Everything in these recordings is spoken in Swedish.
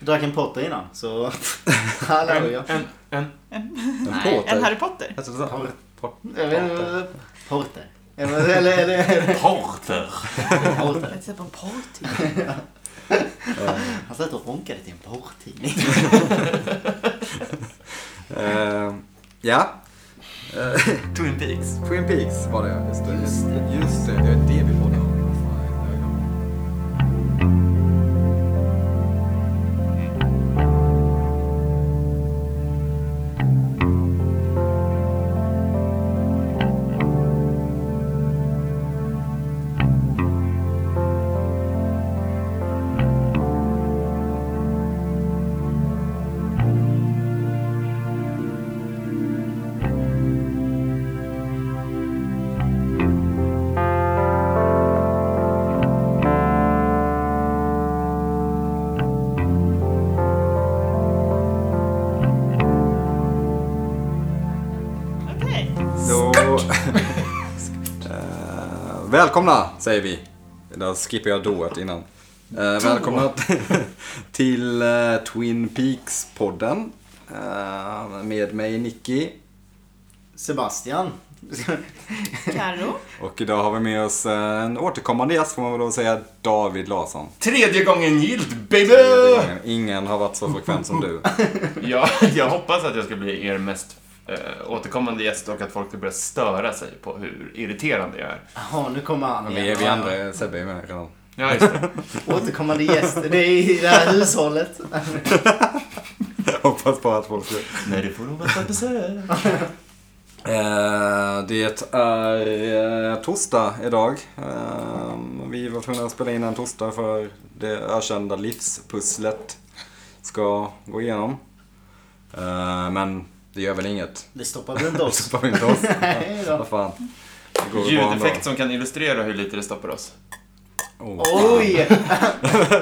drack en Potter innan, så... Halleluja. En, en, Nej, Potter. en Harry Potter. Alltså, så- Porter. Potter. Jag vet inte, Porter. Eller, eller, eller, porter. Porter. Jag ser på en typ. porrtid. Han satt och ronkade till en porrtidning. Eh, Ja. Eh, Twin Peaks. Twin Peaks var det. Just det. Just det. Just det. det var det vi borde ha. Vad fan är det jag glömde? Okej. Så... Eh, välkomna säger vi. Där skippar jag doet innan. Eh, välkomna t- till eh, Twin Peaks-podden. Eh, med mig Nicky. Sebastian. Karo. Och idag har vi med oss eh, en återkommande gäst får man väl då säga, David Larsson. Tredje gången gillt baby! Ingen, ingen har varit så frekvent som du. Ja, jag hoppas att jag ska bli er mest eh, återkommande gäst och att folk ska börja störa sig på hur irriterande jag är. Jaha, nu kommer han Vi, vi andra, Sebbe är med redan. Ja, just det. Återkommande gäster, det är i det här hushållet. Hoppas på att folk ska... Nej, det får nog vara ett besök. Eh, Det är eh, torsdag idag. Eh, Vi var tvungna att spela in en torsdag för det ökända livspusslet ska gå igenom. Eh, Men det gör väl inget. Det stoppar väl inte oss? Så får vi inte oss. Nej då. Vad fan. Det går väl bra ändå. Ljudeffekt som kan illustrera hur lite det stoppar oss. Oh. Oj!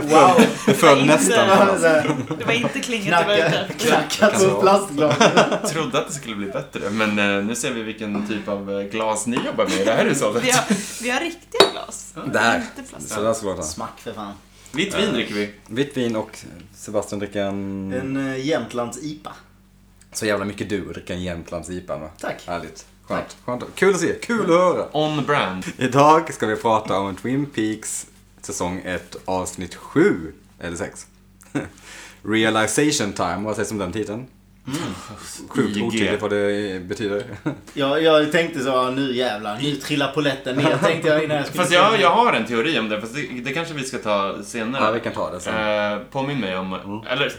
Wow! Det föll nästan på Det var oss. så här, Det var inte klinget du var ute Knacka, efter. knacka på plastglas. Jag trodde att det skulle bli bättre, men eh, nu ser vi vilken typ av eh, glas ni jobbar med i det här hushållet. Vi har, vi har riktiga glas. Där. Inte plast. Så där ska det vara. Smack för fan. Vitt vin dricker vi. Vitt vin och Sebastian dricker en... En uh, Jämtlands IPA. Så jävla mycket du dricker en Jämtlands IPA va? Tack. Härligt. Skönt. Skönt. Kul att se. Kul att höra. On brand. Idag ska vi prata om Twin Peaks säsong 1 avsnitt 7, eller 6. Realization time, vad sägs om den titeln? Mm. Sjukt IG. otydligt vad det betyder. Jag, jag tänkte så, ja, nu jävlar, nu trillar polletten ner tänkte jag innan jag skulle Fast jag, jag har en teori om det, fast det, det kanske vi ska ta senare. Ja, vi kan ta det sen. Eh, påminn mig om... Eller,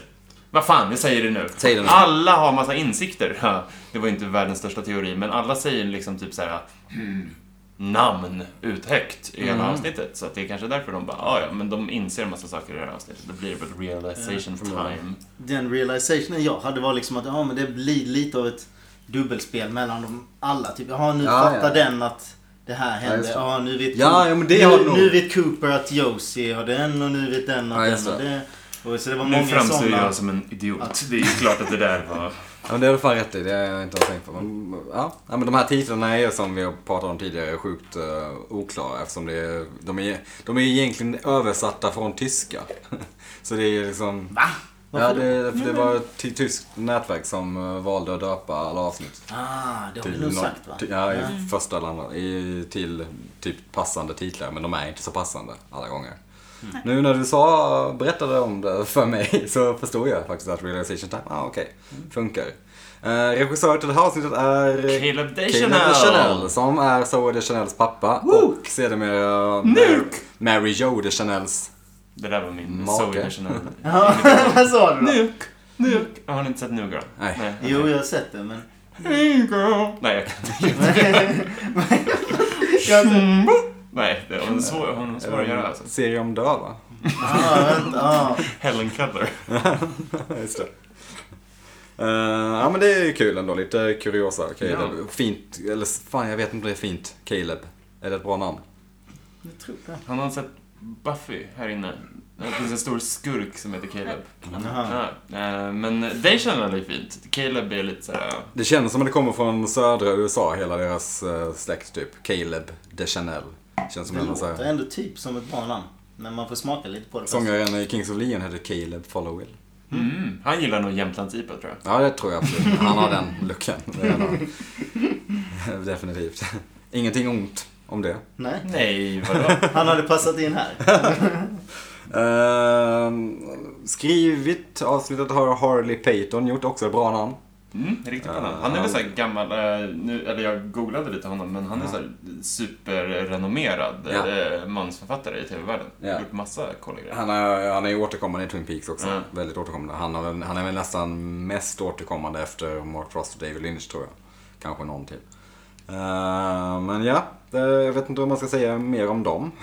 vad fan, jag säger det nu. Säg det nu. Alla har massa insikter. Ha, Det var inte världens största teori, men alla säger liksom typ så här hmm, namn ut högt i hela avsnittet. Så att det är kanske därför de bara, "Ah, ja, men de inser en massa saker i det här avsnittet. Då blir det väl realization time. Den realizationen jag hade var liksom att ja, men det blir lite av ett dubbelspel mellan dem alla. Typ, jaha nu Ja, fattar ja. den att det här hände. just det. Ja, nu vet, Ja, ja, men det nu, har nog- nu vet Cooper att Josie har den och nu vet den Ja, att just den har det. Och så det var Nu många framstår sådana. jag som en idiot. Det är ju klart att det där var... Ja, men det har du fan rätt i, det har jag inte tänkt på. Men, ja. ja, men de här titlarna är ju, som vi har pratat om tidigare sjukt eh, oklara eftersom det är, de, är, de är egentligen översatta från tyska. Så det är liksom... Va? Ja, det, det var ett ty- tyskt nätverk som eh, valde att döpa alla avsnitt. Ah, det har vi Till nog nå- sagt va? ti- Ja, i första eller andra. I, till typ passande titlar, men de är inte så passande alla gånger. Mm. Nu när du sa, berättade om det för mig så förstod jag faktiskt att realization time, ah, okej, Mm. funkar. Eh, regissör till det här avsnittet är Caleb Caleb Deschanel. Deschanel, som är Zoe Deschanels pappa och sedermera Mary, Mary Jo Deschanels Det där var min Make. Zoe National. Ja, vad sa du då? Nuk, nuk. Har ni inte sett New Girl? Nej. Jo, jag har sett det men... New Girl. Nej, jag kan inte. Nej, det hon är svår, hon är svår att göra alltså. Eh, serie om döva. ah, vänta, ah. Helen Keller. Just det. Eh, ja men det är ju kul ändå, lite kuriosa. Caleb. Ja. Fint, eller fan jag vet inte om det är fint. Caleb. Är det ett bra namn? Jag tror det. Har någon sett Buffy här inne? Det finns en stor skurk som heter Caleb. Jaha. Ja, eh, men det känner jag fint. Caleb är lite såhär... Det känns som att det kommer från södra USA, hela deras eh, släkt typ. Caleb DeChanel. Känns som Det en massa- låter ändå typ som ett bra namn. Men man får smaka lite på det. först. Sångaren i Kings of Leon heter Caleb Followill. Mm. Han gillar nog Jämtlands-IPA tror jag. Ja, det tror jag absolut. Han har den luckan. Det är nog- Definitivt. Ingenting ont om det. Nej. Nej, vadå? Han hade passat in här. Ehm, skrivit avsnittet har Harley Payton gjort, också ett bra namn. Mm, riktigt bra Ja, namn. Han är han- väl såhär gammal, eh, nu, eller jag googlade lite honom, men han är Ja. såhär superrenommerad Ah. Ja. eh, mansförfattare i TV-världen. Ja. Gjort massa coola grejer. Han är, han är ju återkommande i Twin Peaks också. Mm. Ja. Väldigt återkommande. Han, har, väl- han är väl nästan mest återkommande efter Mark Frost och David Lynch tror jag. Kanske någon till. Ehm, men ja, eh, jag vet inte vad man ska säga mer om dem.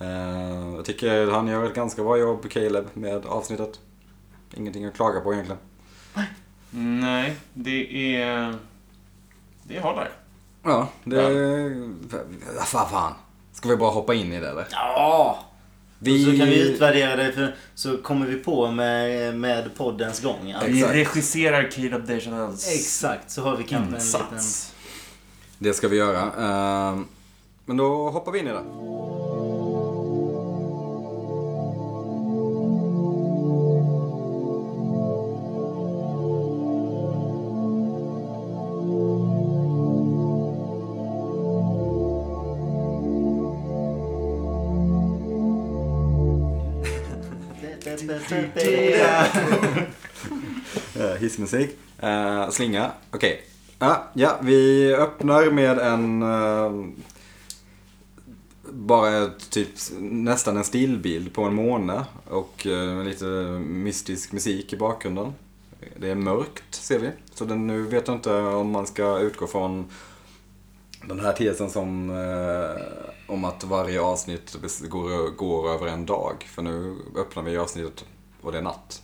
Ehm, jag tycker han gör ett ganska bra jobb, Caleb, med avsnittet. Ingenting att klaga på egentligen. Nej, det är... Det är Hollar. Ja, det... Ja. Fan, fan. Ska vi bara hoppa in i det eller? Ja! Vi... Så kan vi utvärdera det för så kommer vi på med, med poddens gång. Ja. Vi Exakt. regisserar Caleb Dejanels Exakt, så har vi kanske en liten... insats. Det ska vi göra. Ehm, Men då hoppar vi in i det. Eh, hissmusik. Eh, slinga. Okej. Ja, ja, vi öppnar med en... eh, bara typ nästan en stillbild på en måne och eh, med lite mystisk musik i bakgrunden. Det är mörkt ser vi. Så den, nu vet jag inte om man ska utgå från den här tesen som eh, om att varje avsnitt bes- går, går över en dag. För nu öppnar vi avsnittet och det är natt.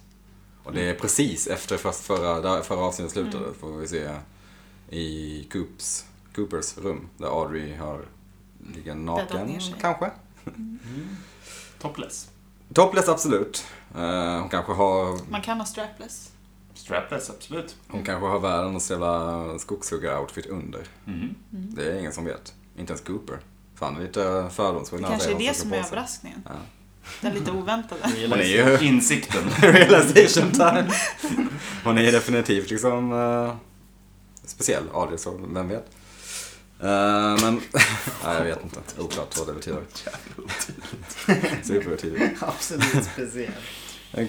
Och Mm. det är precis efter först förra, där förra avsnittet slutade, får vi se i Coops, Coopers rum. Där Audrey har ligger Bäddat naken, ner sig. Mm. kanske. Topless. Topless, absolut. Eh, hon, kanske har, Man kan ha strapless. Strapless, absolut. hon kanske har världens jävla skogshuggaroutfit under. Mhm. Det är ingen som vet. Inte ens Cooper. För han är lite äh, fördomsfull Det när han säger kanske är det vad ska som på är sig. överraskningen. Ja. Den lite oväntade. Hon är ju Insikten. realization time. Hon är ju definitivt liksom eh, speciell, Adrian, så vem vet. Eh, men, nej jag vet inte. Oklart vad det betyder. Superotydligt. Absolut speciell.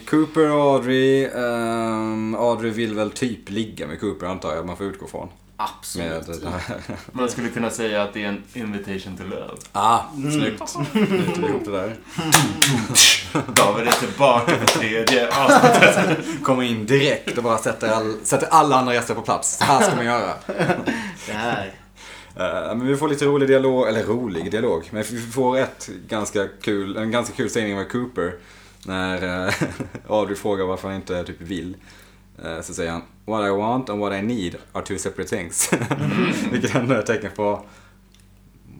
Cooper och Audrey. ehm, Audrey vill väl typ ligga med Cooper antar jag, man får utgå från. Med Absolut. det här. Man skulle kunna säga att det är en invitation to love. Ah, Mm. snyggt. Knyter vi ihop det där. David är tillbaka på tredje avsnittet. Kommer in direkt och bara sätter, all, sätter alla andra gäster på plats. Så här ska man göra. Det här. Eh, men vi får lite rolig dialog, eller rolig dialog, men vi får ett ganska kul, en ganska kul sägning med Cooper. När eh, Audrey frågar varför han inte typ vill. Eh, så säger han What I want and what I need are two separate things. Vilket ändå är ett tecken på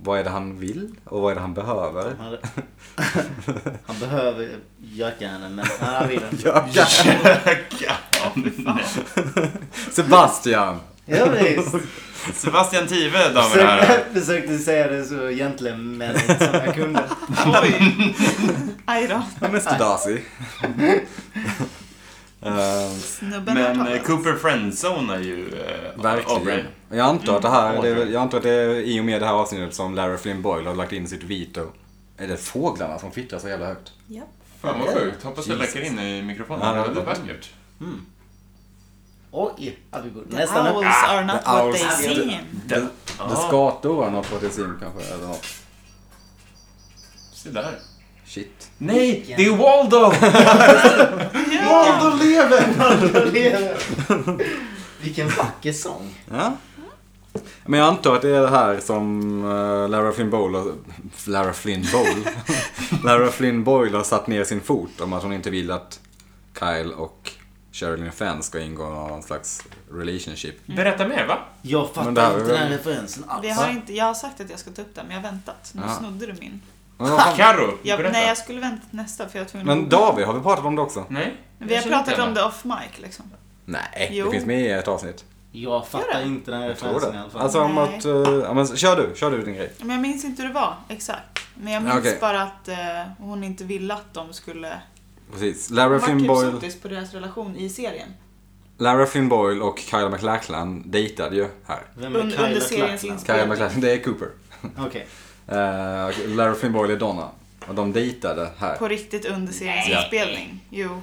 vad är det han vill och vad är det han behöver. Han, han behöver göka henne men nej, han vill inte. Ja, ja. Sebastian! Ja, visst. Sebastian Tive, damer och herrar. Jag försökte säga det så gentlemänligt som jag kunde. Oj! Aj då. Mr Darcy. Eh, Snubben har Men talat. eh, Cooper friendzonar ju eh, Aubrey. Verkligen. Och Jag antar, att det här, det, är- Aubrey. jag antar att det är i och med det här avsnittet som Larry Flynn Boyle har lagt in sitt veto. Är det fåglarna som fittrar så jävla högt? Japp. Fan vad sjukt. Hoppas det läcker in i mikrofonen. Ja, det var det var- vackert. Oj, ja, vi går The nästan upp. owls are not the what owls. they seem. Det, Det skator har något på till sim kanske, eller något. se där. Shit. Nej, det är Waldo! Ja. Då lever Waldo lever! Vilken vacker sång. Ja. Men jag antar att det är det här som eh, Lara Flynn Boyle har... Lara Flynn Boyle? Lara Flynn Boyle har satt ner sin fot om att hon inte vill att Kyle och Sherilyn Fenn ska ingå någon slags relationship. Berätta mer va? Jag Men det här fattar var inte den här väl- referensen alls. Det har inte, jag har sagt att jag ska ta upp den, men jag har väntat. Nu Ja. snodde du min. Men vad fan- Carro, Jag, berätta. nej, jag skulle vänta till nästa för jag tror Men David, har vi pratat om det också? Nej? Vi har Jag känner pratat inte om henne. det off mic liksom. Nej, Jo. det finns med i ett avsnitt. Jag Gör fattar det? inte den här Jag tror referensen i alla det. fall. Alltså om Nej. att, eh, ja, men kör du, kör du din grej. Men jag minns inte hur det var exakt. Men jag minns Okej. bara att eh, hon inte ville att de skulle Precis. Lara Finn Martin Boyle... Sotis på deras relation i serien. Lara Flynn Boyle och Kyla MacLachlan dejtade ju här. Vem Un, är under Kyla seriens Clarkland? Kyla inspelning. MacLachlan, det är Cooper. Okej. Eh, och Lara Flynn Boyle är Donna. Och de dejtade här. På riktigt under seriens Ja. inspelning. Jo.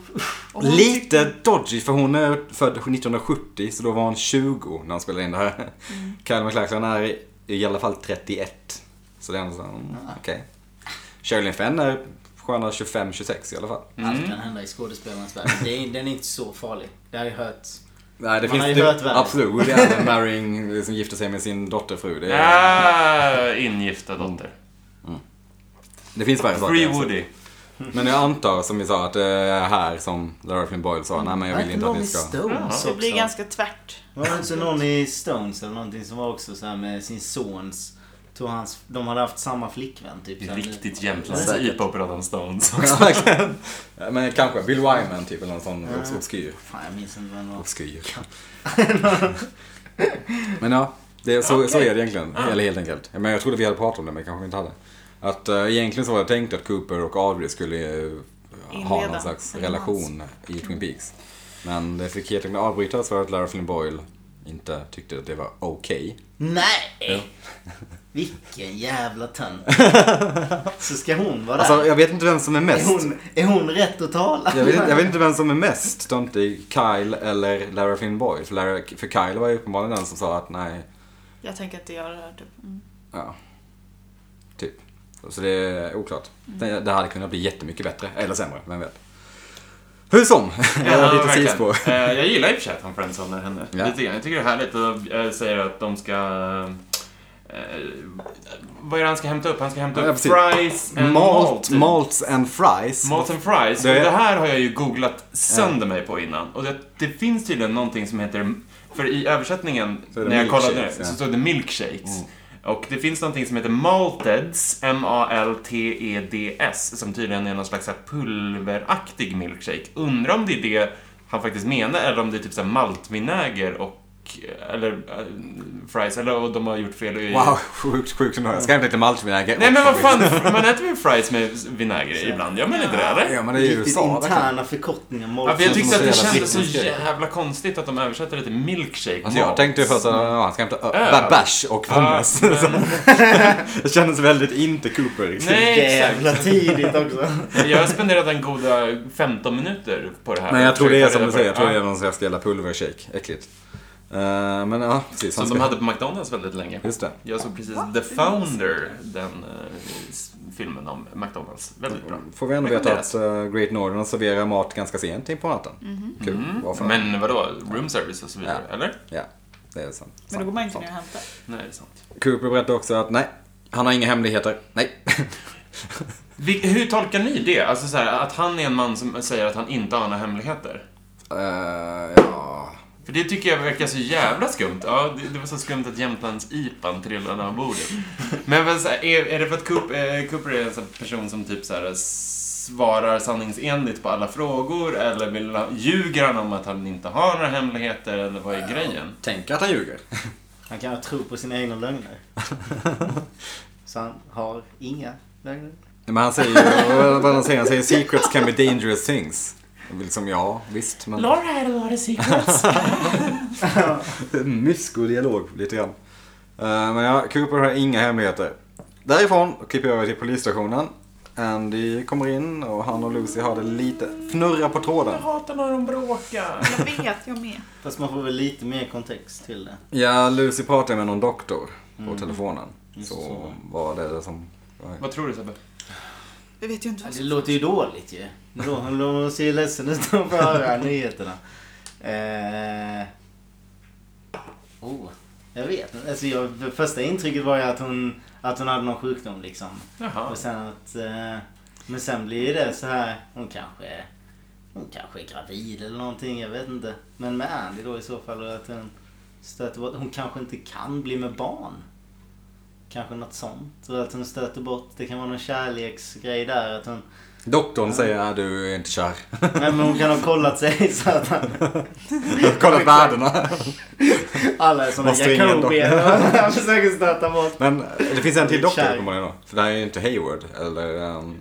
Och hon Lite tyckte- dodgy för hon är född 1970 så då var hon 20 när hon spelade in det här. Mm. Kyla MacLachlan är i- i alla fall 31. Så det är ändå så här, mm, Ah. okej. Sherilyn Fenn är sköna 25-26 i alla fall. Allt kan hända i skådespelarnas värld. Det är, den är inte så farlig. Det har jag hört. Nej, det Man har finns ju du, hört värre. Absolut, Woody Allen marrying, som gifter sig med sin dotterfru. Det, är, Ah, ingifta dotter. det finns värre saker. Free alltså. Woody. Men jag antar, som vi sa, att det är här som Lara Flynn Boyle sa, nej men jag vill Var inte att någon ni i ska... Stones Det blir också? ganska tvärt. Var det inte någon i Stones eller någonting som var också så här med sin sons... Tog hans, de hade haft samma flickvän typ. Det så är här, riktigt jämtländska Säkert. IPA på Bröderna Stones. Ja, verkligen. Ja, men kanske Bill Wyman typ, eller någon sån obs- obskyr. Fan, jag minns inte vem det var. Obskyr. men ja, det, så, så är det egentligen. Eller helt enkelt. Men jag trodde vi hade pratat om det, men kanske vi inte hade. Att eh, egentligen så var det tänkt att Cooper och Audrey skulle eh, ha Inleda någon slags en relation i Twin Peaks. Men det fick helt enkelt avbrytas för att Lara Flynn Boyle inte tyckte att det var okej. Nej! Vilken jävla tönt. Så ska hon vara Alltså, där? jag vet inte vem som är Är mest. hon, är hon rätt att tala? Jag vet, inte, jag vet inte vem som är mest töntig, Kyle eller Lara Flynn Boyle. För, Lara, för Kyle var ju uppenbarligen den som sa att nej, Jag tänker att det gör det här typ. Mm. ja, typ. Så det är oklart. Det, det hade kunnat bli jättemycket bättre, eller sämre, vem vet. Hur som, jag har lite verkligen. sidospår. Eh, Jag gillar i och för sig att han friendzonar henne Ja. lite grann. Jag tycker det är härligt och eh, säger att de ska... eh, Vad är det han ska hämta upp? Han ska hämta Ja, upp precis. fries and Malt, malt. malts and fries. Malt and fries. Det- Det... det här har jag ju googlat sönder mig på innan. Och det, det finns tydligen någonting som heter... För i översättningen, Så är det när jag kollade, milkshakes, ja. Mm. så stod det milkshakes. Och det finns någonting som heter malteds, M-A-L-T-E-D-S, E som tydligen är någon slags så här pulveraktig milkshake. Undrar om det är det han faktiskt menar, eller om det är typ så här maltvinäger och... Eller eh, fries, eller och de har gjort fel i... Wow, sjukt, sjukt nöjd. Ska jag hämta lite maltvinäger? Nej men vad fan, man äter väl fries med vinäger ibland? Gör man inte det eller? Ja, men det är ju Riktigt USA. verkligen. interna förkortningar. Ja, för jag Alltså, tyckte att det Jävla kändes så brittisk grej. jävla konstigt att de översätter det till milkshake. Alltså jag mat. tänkte ju först att ja, han ska hämta ö- Öl. bash och Ja, pommes. men Det kändes väldigt inte Cooper. Liksom. Nej, exakt. Jävla tidigt också. Jag har spenderat en goda 15 minuter på det här. Men jag tror det är som du Försökt ta reda säger, jag på tror det är någon slags jävla pulvershake. Äckligt. Eh, men ja, precis. Som han de ska- hade på McDonalds väldigt länge. Just det. Jag såg precis The Founder, den eh, s- filmen om McDonalds. Väldigt bra. Får vi ändå veta Rekommenderas. Mhm. att eh, Great Northern serverar mat ganska sent in på natten. Kul. Varför? Mm. Men vadå, room service och så vidare, eller? Ja, det är sant. Men då går man inte Sant. ner och hämtar. Nej, det är sant. Cooper berättar också att nej, han har inga hemligheter. Nej. Vi, hur tolkar ni det? Alltså så här, att han är en man som säger att han inte har några hemligheter? Eh, ja. För det tycker jag verkar så jävla skumt. Ja, det, det var så skumt att Jämtlands-IPan trillade av bordet. Men vad så här, är, är det för att Coop, eh, Cooper är en sån person som typ så här, svarar sanningsenligt på alla frågor? Eller vill, han- ljuger han om att han inte har några hemligheter? Eller vad är grejen? Tänk att han ljuger. Han kan ju tro på sina egna lögner. Så han har inga lögner. Men han säger ju, vad- vad han säger, han säger secrets can be dangerous things. Liksom ja, visst. Men... Laura had a lot of secrets. Mysko-dialog lite grann. Eh, men ja, Cooper har inga hemligheter. Därifrån klipper jag över till polisstationen. Andy kommer in och han och Lucy har det lite fnurra på tråden. hatar när de bråkar. Jag vet, jag med. Fast man får väl lite mer kontext till det. Ja, Lucy pratar med någon doktor på telefonen. Just Mm. Så så. vad är det som... Vad tror du Sebbe? Jag vet ju inte Ja, vad Det låter ju dåligt ju. Då- Hon ser ju ledsen ut när hon får höra nyheterna. Eh... Oh, jag vet inte. alltså, jag, Det första intrycket var ju att hon, att hon hade någon sjukdom liksom. Jaha. Och sen att, eh... Men sen blir ju det så här. Hon kanske är, hon kanske är gravid eller någonting. Jag vet inte. Men med Andy då i så fall. och Att hon, stöter bort, hon kanske inte kan bli med barn. Kanske något sånt. Och att hon stöter bort. Det kan vara någon kärleksgrej där. Att hon Doktorn säger att du är inte kär. Nej men hon kan ha kollat sig så att han, Kolla värdena. alla är såna Måste ringa en jacobier. Han försöker stöta bort. Men det finns en Du till är doktor kär. Ah, uppenbarligen då. För det här är ju inte Hayward eller... ehm,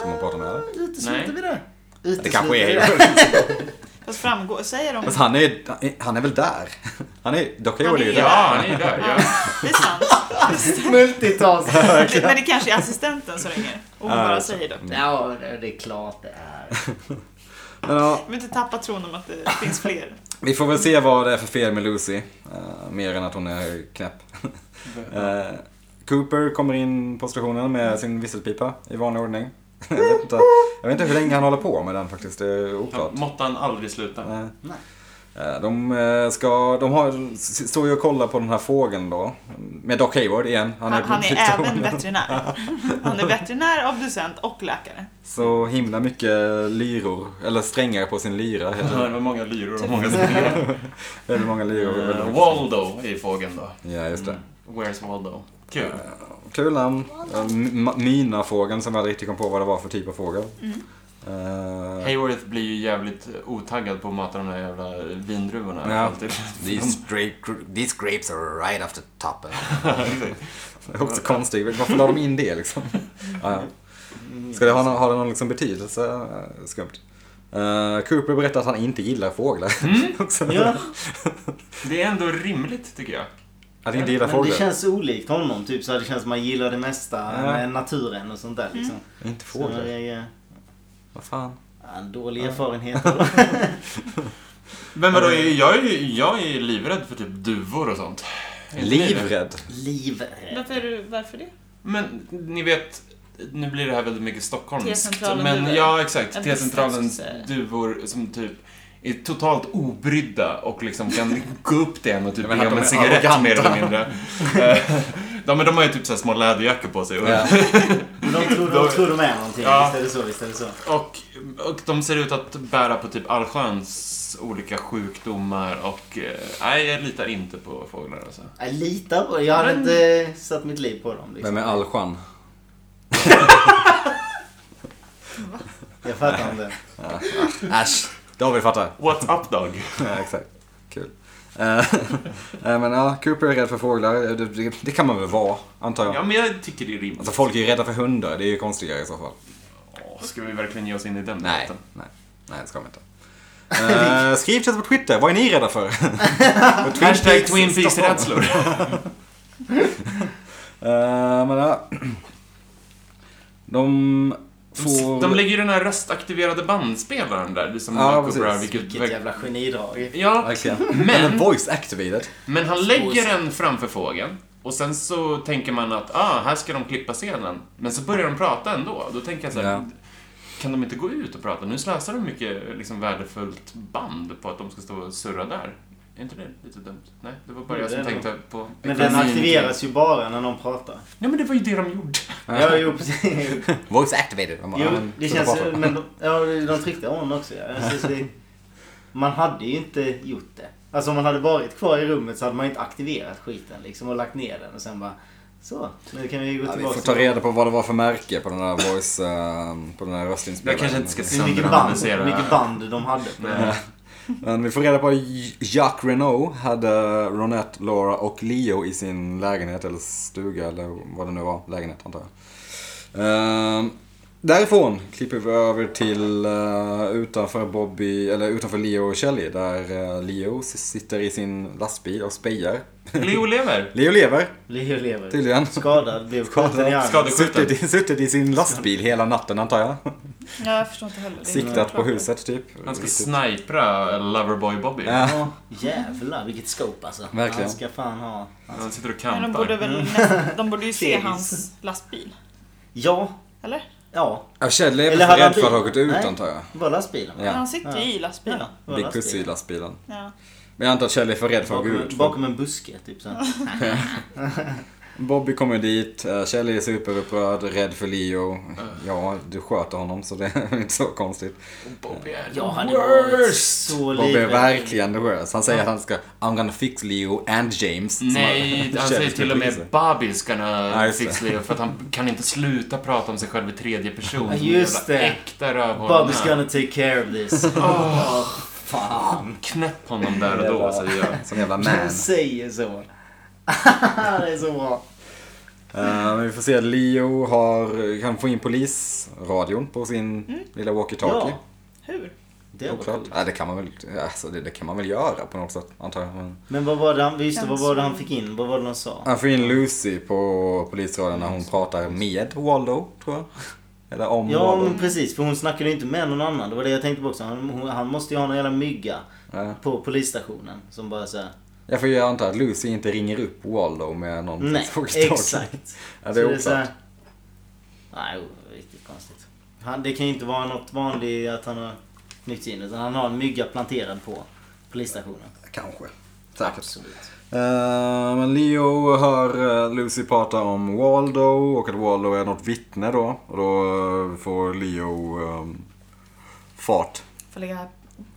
som hon pratar med eller? Utesluter Nej. vi det? Det kanske är Utesluter Fast framgår, säger de... Fast han är, han är väl där? Han är, Doc Hayward är ju Han är- Ja, ni där. är där. Ja. Det är sant. det. Multitask. Det- Men det kanske är assistenten som ringer. Och hon Ja, bara alltså. säger det. Ja, det det är klart det är. Men ja, Vi vill inte tappa tron om att det finns fler. Vi får väl se vad det är för fel med Lucy. eh, mer än att hon är knäpp. Eh, Cooper kommer in på stationen med sin visselpipa i vanlig ordning. jag, vet inte, jag vet inte hur länge han håller på med den faktiskt. Det är oklart. Måtte han aldrig sluta. Eh, Nej. eh, de, eh, ska, de har, s- står ju och kollar på den här fågeln då. Med Doc Hayward igen. Han, är, han på är stationen. även veterinär. Han är veterinär, obducent och läkare. Så himla mycket lyror. Eller strängar på sin lyra. Ja, heter Det var många lyror och många strängar. det. Väldigt många lyror. väldigt Eh, mycket- Waldo är fågeln då. Ja, just det. Where's Waldo? Kul. Kul namn. Eh, Mina-fågeln som jag aldrig riktigt kom på vad det var för typ av fågel. Eh, Hayworth blir ju jävligt otaggad på att mata de där jävla vindruvorna. Ja. Alltid. mm. These, grape, these grapes are right off the top. of det är också konstigt. Varför la de in det liksom? Ja, ja. Ska det ha någon, har det någon liksom betydelse? Eh, Skumt. Eh, Cooper berättar att han inte gillar fåglar. Mm. också. Ja, Det är ändå rimligt, tycker jag. Att inte gilla men det fåglar. känns olikt honom. Typ så här, det känns som man gillar det mesta Ja. med naturen och sånt där Mm. liksom. Inte Så det fåglar? är ju- Vad fan? ja, en dålig erfarenhet. då. Men vadå, Eh. jag är ju jag är livrädd för typ duvor och sånt. Är inte ni det? Livrädd. Livrädd. Varför, är du, varför det? Men ni vet, nu blir det här väldigt mycket stockholmskt. T-centralen Men duvor. Eh. ja, Jag exakt. visste T-centralens att du skulle duvor som typ är totalt obrydda och liksom kan gå upp till en och typ Men be att om de en är cigarett arroganta. mer eller mindre. Eh, ja, men de har ju typ så här små läderjackor på sig. Och, Ja. Men De tror, de tror de är någonting. Ja. Visst är det så, visst är det så. och, och de ser ut att bära på typ allsköns olika sjukdomar och... eh, Nej, jag litar inte på fåglar alltså. Jag litar på det. Jag hade Men- inte satt mitt liv på dem. Liksom. Vem är Alshan? Jag fattar inte. Äsch. David fattar. What's up dog? Ja, exakt. Kul. Eh, eh, men ja, Cooper är rädd för fåglar. Eh, Det, det, det kan man väl vara, antar jag. Ja, men jag tycker det är rimligt. Alltså folk är ju rädda för hundar, det är ju konstigare i så fall. Åh, Ska vi verkligen ge oss in i den Nej, debatten? nej, nej det ska man inte. Eh, skriv till oss på Twitter, vad är ni rädda för? Och Twin Hashtag Peaks Twin Peaks Stockholm. rädslor. Eh, men ja. De får... De lägger ju den här röstaktiverade bandspelaren där, det som Alltså- Ja, Marco precis. Brown, vilket... Vilket jävla genidrag. Ja, Verkligen. Men- Men... voice activated. men han lägger den framför fågeln och sen så tänker man att ah, här ska de klippa scenen. Men så börjar de prata ändå. Då tänker jag så här, Ja. kan de inte gå ut och prata? Nu slösar de mycket liksom, värdefullt band på att de ska stå och surra där. Är inte det lite dumt? Nej, det var bara Jo, jag som det är tänkte på... Men den aktiveras ju bara när någon pratar. Nej, men det var ju det de gjorde. Ja, jo precis. the- Voice activated. De bara, Jo, ja, det sluta känns... prata. Men de, ja, de tryckte on också. Ja. Jag syns det, man hade ju inte gjort det. Alltså om man hade varit kvar i rummet så hade man ju inte aktiverat skiten liksom och lagt ner den och sen bara... Så, nu kan vi gå Ja, vi tillbaka. får ta reda på vad det var för märke på den där voice... eh, på den där röstinspelaren. Jag kanske inte ska hur mycket band, hur sönderanalysera. mycket band de hade på den. Men vi får reda på att Jacques Renault hade Ronette, Laura och Leo i sin lägenhet eller stuga eller vad det nu var. Lägenhet antar jag. Ehm, därifrån klipper vi över till eh, utanför Bobby, eller utanför Leo och Shelley där eh, Leo s- sitter i sin lastbil och spejar. Leo lever. Leo lever Leo lever. tydligen. Skadad, blev skjuten i armen. Skadad. Suttit, i- suttit i sin lastbil hela natten antar jag. Ja, jag förstår inte heller. Det är inte Siktat bra på prat. huset typ. Han ska snipra Loverboy Bobby. Ja. Ja, jävlar vilket scope alltså. Verkligen. Han ska fan ha... Han sitter och Men de borde, campar. Mm. väl nästan, de borde ju se Segis. hans lastbil. Ja, Eller? ja. Ja, Shelley är Eller väl hade rädd han för att ha bil? gått ut Nej. antar jag. Bara lastbilen. va? Ja. Han sitter ju i lastbilen. Ja, bara Big lastbilen. Pussy i lastbilen. Ja. Men jag antar att Kjell är för rädd för att gå Bakom, ut. bakom en buske, typ så. här. Bobby kommer dit, eh, Kjell är superupprörd, rädd för Leo. Ja, du sköter honom så det är inte så konstigt. Bobby är Jag hade varit så Bobby är livrädd. verkligen nervös. Han säger att han ska I'm gonna fix Leo and James. som Nej, han Kjell säger ska till och bry sig. med Bobby's gonna Ja, just fix Leo för att han kan inte sluta prata om sig själv i tredje person. Ja, just Jävla det. Äkta rövhål. Bobby's gonna take care of this. Oh, Åh, fan. Knäpp honom där och då, säger jag. Som jävla man. Han säger så. det är så bra. Eh, men vi får se, Leo har, kan få in polisradion på sin lilla walkie-talkie. Mm. Ja. Hur? Det var Oklart. coolt. Ja, det kan man väl, alltså, det, det kan man väl göra på något sätt, antar jag. Men... Men vad var det han, just det, vad Känns var det som- han fick in? Vad var det han sa? Han får in Lucy på polisradion när hon pratar med Waldo, tror jag. Eller om Ja Waldo. men precis, för hon snackade ju inte med någon annan. Det var det jag tänkte på också. Han, hon, han måste ju ha någon jävla mygga Ja. på polisstationen som bara såhär... Jag får ju anta att Lucy inte ringer upp Waldo med någon Nej, frågetecken. exakt. Ja, Så det är så här- oklart. Nej, o- riktigt konstigt. Han, det kan ju inte vara något vanligt att han har nyttjat in utan han har en mygga planterad på polisstationen. Kanske. Säkert. Eh, men Leo hör eh, Lucy prata om Waldo och att Waldo är något vittne då. Och då eh, får Leo ehm, fart. Får lägga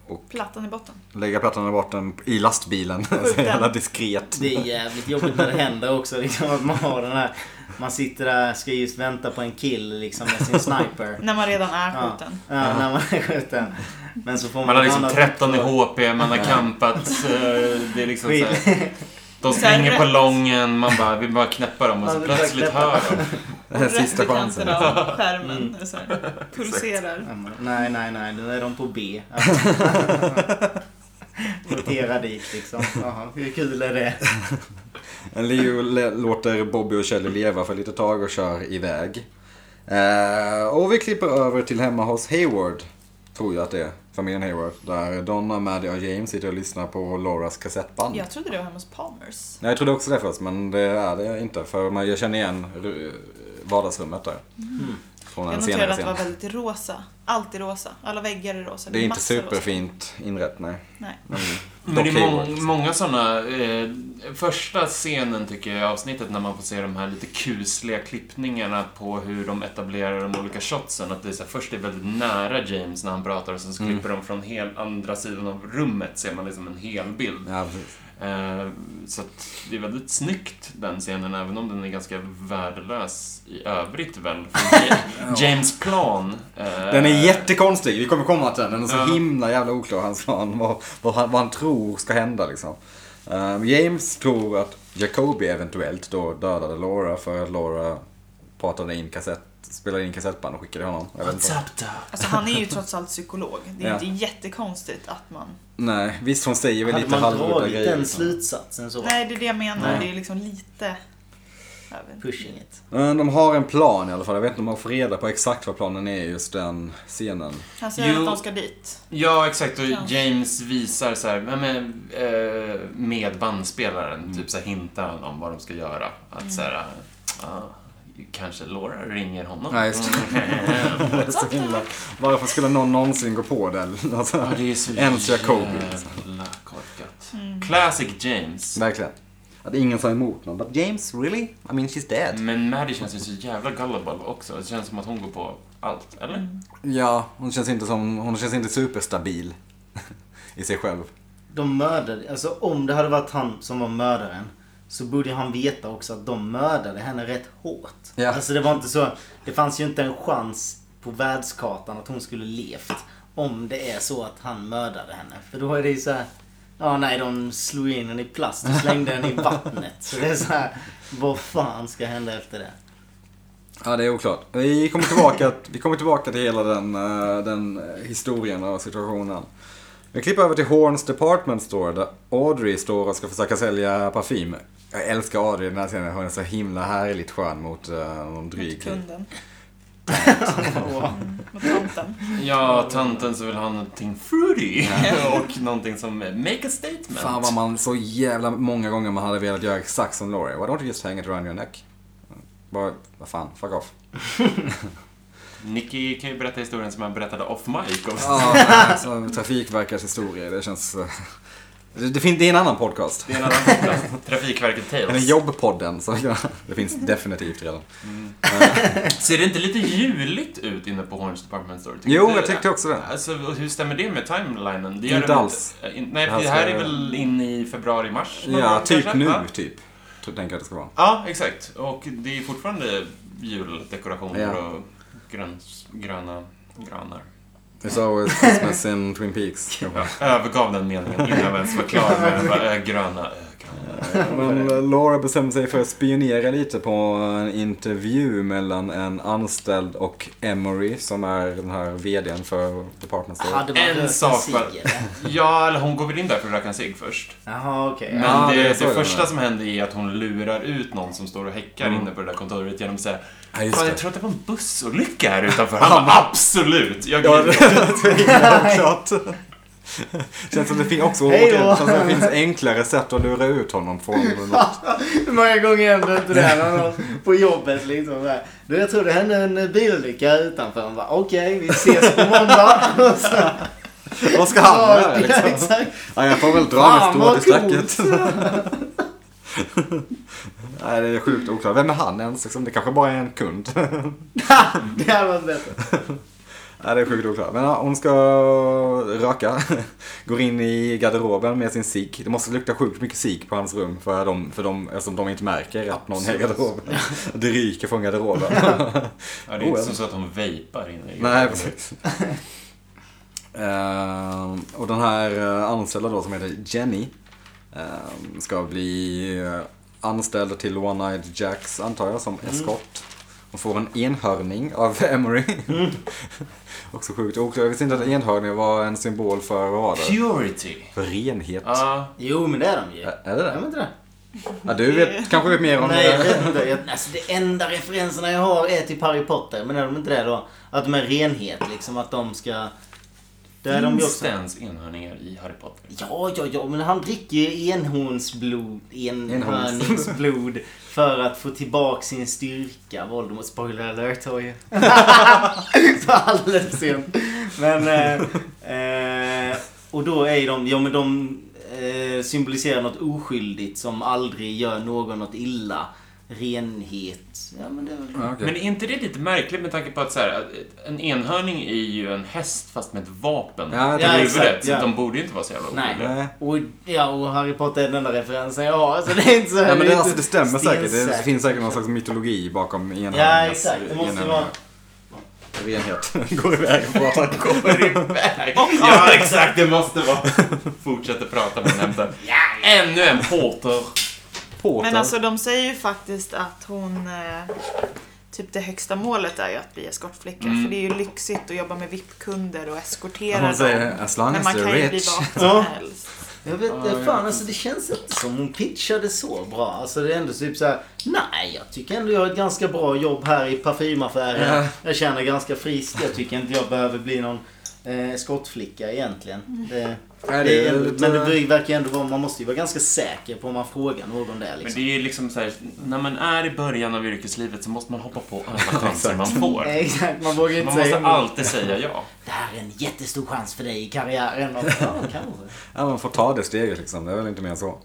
Och- plattan i botten. Lägga plattan i botten i lastbilen. Skjut Så den. jävla diskret. Det är jävligt jobbigt när det händer också. Liksom, att man har den här... Man sitter där ska just vänta på en kill liksom med sin sniper. När man redan är Ja, skjuten. ja, när man är skjuten. Men så får man... Man har liksom annat 13 i också. HP, man har campat. eh, Det är liksom Skit. såhär, de Så här springer på rätt. lången, man bara vill bara knäppa dem och så Man vill bara plötsligt knäppa. hör de. Den här Och rätt sista i chansen. kanten Mm. av skärmen. Så här, pulserar. Ja, men- Nej, nej, nej. Nu är de på B. Rotera dit liksom. Jaha, hur kul är det? Men Leo le- låter Bobby och Shelley leva för lite tag och kör iväg. Eh, och vi klipper över till hemma hos Hayward. Tror jag att det är. Familjen Hayward. Där Donna, Maddie och James sitter och lyssnar på Lauras kassettband. Jag trodde det var hemma hos Palmers. Nej, Jag trodde också det först, men det är det inte. För man- jag känner igen r- vardagsrummet där. Från en Mm. Jag noterade senare att det scen. var väldigt rosa. Allt är rosa. Alla väggar är rosa. Det är inte massor rosa. superfint inrett, nej. Mm. Nej. Men det Dock är Hayward. må- många sådana... Eh, första scenen tycker jag i avsnittet när man får se de här lite kusliga klippningarna på hur de etablerar de olika shotsen. Att det är så här, först är det väldigt nära James när han pratar och sen Mm. så klipper de från hel, andra sidan av rummet ser man liksom en hel bild. Ja, precis. Eh, så att det är väldigt snyggt den scenen även om den är ganska värdelös i övrigt väl. För Ja. James plan. eh, Den är jättekonstig, vi kommer komma till den. Den är så Ja. himla jävla oklar, hans plan. Vad, vad, han, vad han tror ska hända liksom. Ehm, James tror att Jacobi eventuellt då dödade Laura för att Laura pratade in kassett, spelade in kassettband och skickade honom. Jag vet inte. Alltså han är ju trots allt psykolog. Det är Ja. inte jättekonstigt att man... Nej, visst hon säger väl Hade lite man halvgoda dragit grejer. den Liksom. slutsatsen så? Nej, det är det jag menar. Nej. Det är liksom lite... Jag vet inte. Pushing it. Men Ehm, de har en plan i alla fall. Jag vet inte om man får reda på exakt vad planen är i just den scenen. Han säger Jo. att de ska dit. Ja, exakt. Och Kanske. James visar så här, men, eh, med bandspelaren, Mm. typ så här, hintar han om vad de ska göra. Att så här, ah, kanske Laura ringer honom. Mm. Ja, just det. är så himla. Varför skulle någon någonsin gå på det? Alltså, Ja, det är så Ens Jacobi. liksom. jävla korkat. Mm. Classic James. Verkligen. Att ingen sa emot någon. But James, really? I mean, she's dead. Men Maddie känns ju så jävla gullible också. Det känns som att hon går på allt, eller? Ja, hon känns inte som, hon känns inte superstabil. I sig själv. De mördade, alltså om det hade varit han som var mördaren så borde han veta också att de mördade henne rätt hårt. Ja. Alltså det var inte så, det fanns ju inte en chans på världskartan att hon skulle levt om det är så att han mördade henne. För då är det ju så här, ja nej de slog in henne i plast och slängde henne i vattnet. Så det är så här, vad fan ska hända efter det? Ja, det är oklart. Vi kommer tillbaka, vi kommer tillbaka till hela den, eh, den eh, historien och situationen. Vi klipper över till Horns Department Store där Audrey står och ska försöka sälja parfym. Jag älskar Audrey i den här scenen. Hon är så himla härligt skön mot uh, någon Mot dryg. kunden. Och, Mot tomten. Ja, tanten så vill ha någonting fruity. Och någonting som make a statement. Fan vad man så jävla många gånger man hade velat göra exakt som Laurie. Why don't you just hang it around your neck? Bara, vad fan, fuck off. Nicky kan ju berätta historien som jag berättade off mic. om. Ja, alltså, Trafikverkets historia, det känns... eh, Det, det, fin- det är en annan podcast. Det är en annan podcast. Trafikverket Eller Tales. jobbpodden, så det finns definitivt redan. Ser det inte lite juligt ut inne på Horns Department Store? Tycker Jo, inte jag du tyckte också det. Alltså, och hur stämmer det med timelinen? Det Inte det alls. Inte, Eh, in, nej, Det det här här, det här ska- är väl in i februari, mars? någon Ja, gång typ kanske, nu, va? typ. Tror- Tänker jag att det ska vara. Ja, exakt. Och det är fortfarande juldekorationer Ja. och gröns, gröna granar. It's always Christmas in Twin Peaks. Jag övergav den meningen innan jag ens var klar med den. Bara, äh, gröna, äh, granar. Men eh, Laura bestämde sig för att spionera lite på en intervju mellan en anställd och Emory som är den här VDn för Department Store. Hade man En rökt en sak cigg, bara. eller? Ja, eller hon går väl in där för att röka en cigg först. Jaha, okej. Men ja. Ja, det det, är det, så det första är. som händer är att hon lurar ut någon som står och häckar Mm. inne på det där kontoret genom att säga Ja, just Fan, det. jag tror att det var en bussolycka här utanför. Han bara, absolut! Jag Ja, glider." det klart. Känns som det finns också Hej då. känns som det finns enklare sätt att lura ut honom från något. Hur många gånger händer inte det här när någon på jobbet liksom där. Du, jag tror det hände en bilolycka utanför. Han bara, okej, vi ses på måndag. Och så, Vad ska han Ja, göra liksom? exakt. Ja, jag får väl dra Fan, mig vad stå i coolt. stacket. Nej, det är sjukt oklart. Vem är han ens? Liksom, Det kanske bara är en kund. Det hade varit bättre. Nej, det är sjukt oklart. Men ja, hon ska röka. Går in i garderoben med sin cigg. Det måste lukta sjukt mycket cigg på hans rum för de, för de, eftersom de inte märker att någon är i garderoben. Det ryker från garderoben. oh, Ja, det är inte som så att hon vejpar inne i Nej, precis. Ehm, och den här eh, anställda då som heter Jenny ehm, ska bli eh, anställd till One Night Jacks antar jag som eskort. Hon får en enhörning av Emery. Också sjukt oklart. Jag visste inte att enhörning var en symbol för vad var det? Purity. För renhet. Ja, Jo, men det är de ju. Ä- Är det Är de det? inte det? Ja, du vet, kanske vet mer om Nej, jag det. vet inte. Jag, alltså, det enda referenserna jag har är till Harry Potter. Men är de inte det då? Att de är renhet, liksom. Att de ska... Det är de ju finns också. det ens enhörningar i Harry Potter? Ja, ja, ja, men han dricker ju enhornsblod, Enhorns. enhörningsblod för att få tillbaka sin styrka. Voldemort, spoiler alert har ju. Så alldeles sent. Men, eh, eh, och då är ju de, ja men de eh, symboliserar något oskyldigt som aldrig gör någon något illa. Renhet. Ja men det är väl... Ja, okej. Men är inte det lite märkligt med tanke på att så här, att en enhörning är ju en häst fast med ett vapen Ja, i ja, huvudet. exakt, Så ja. de borde ju inte vara så jävla Nej. oskyldiga. Nej. Och, ja, och Harry Potter är den enda referensen jag har. Så det är inte så Nej, men är det, inte alltså, det stämmer säkert. Det stensäkert. finns säkert någon slags mytologi bakom enhörningens Ja, exakt. Det måste ju vara... renhet. Går iväg och pratar. Kommer iväg. Ja, exakt. Det måste vara. Fortsätter prata men hämtar ännu en Potter. Porter. Men alltså de säger ju faktiskt att hon... Eh, typ det högsta målet är ju att bli eskortflicka. För det är ju lyxigt att jobba med VIP-kunder och eskortera Hon säger dem. as long Men as man kan they're ju bli rich. vad Ja. som helst. Jag vet inte, fan alltså det känns inte som hon pitchade så bra. Alltså det är ändå typ så här. nej jag tycker ändå jag har ett ganska bra jobb här i parfymaffären. Ja. Jag känner ganska frisk, jag tycker inte jag behöver bli någon eh, skottflicka egentligen. Det, Nej, Mm. det är är ändå, lite- men det verkar ändå vara, man måste ju vara ganska säker på om man frågar någon där Men liksom. det är ju liksom så här, när man är i början av yrkeslivet så måste man hoppa på alla chanser man får. Exakt, man vågar inte Man måste säga emot. alltid säga ja. Det här är en jättestor chans för dig i karriären. Och, ja, kanske. Ja, man får ta det steget liksom. Det är väl inte mer än så.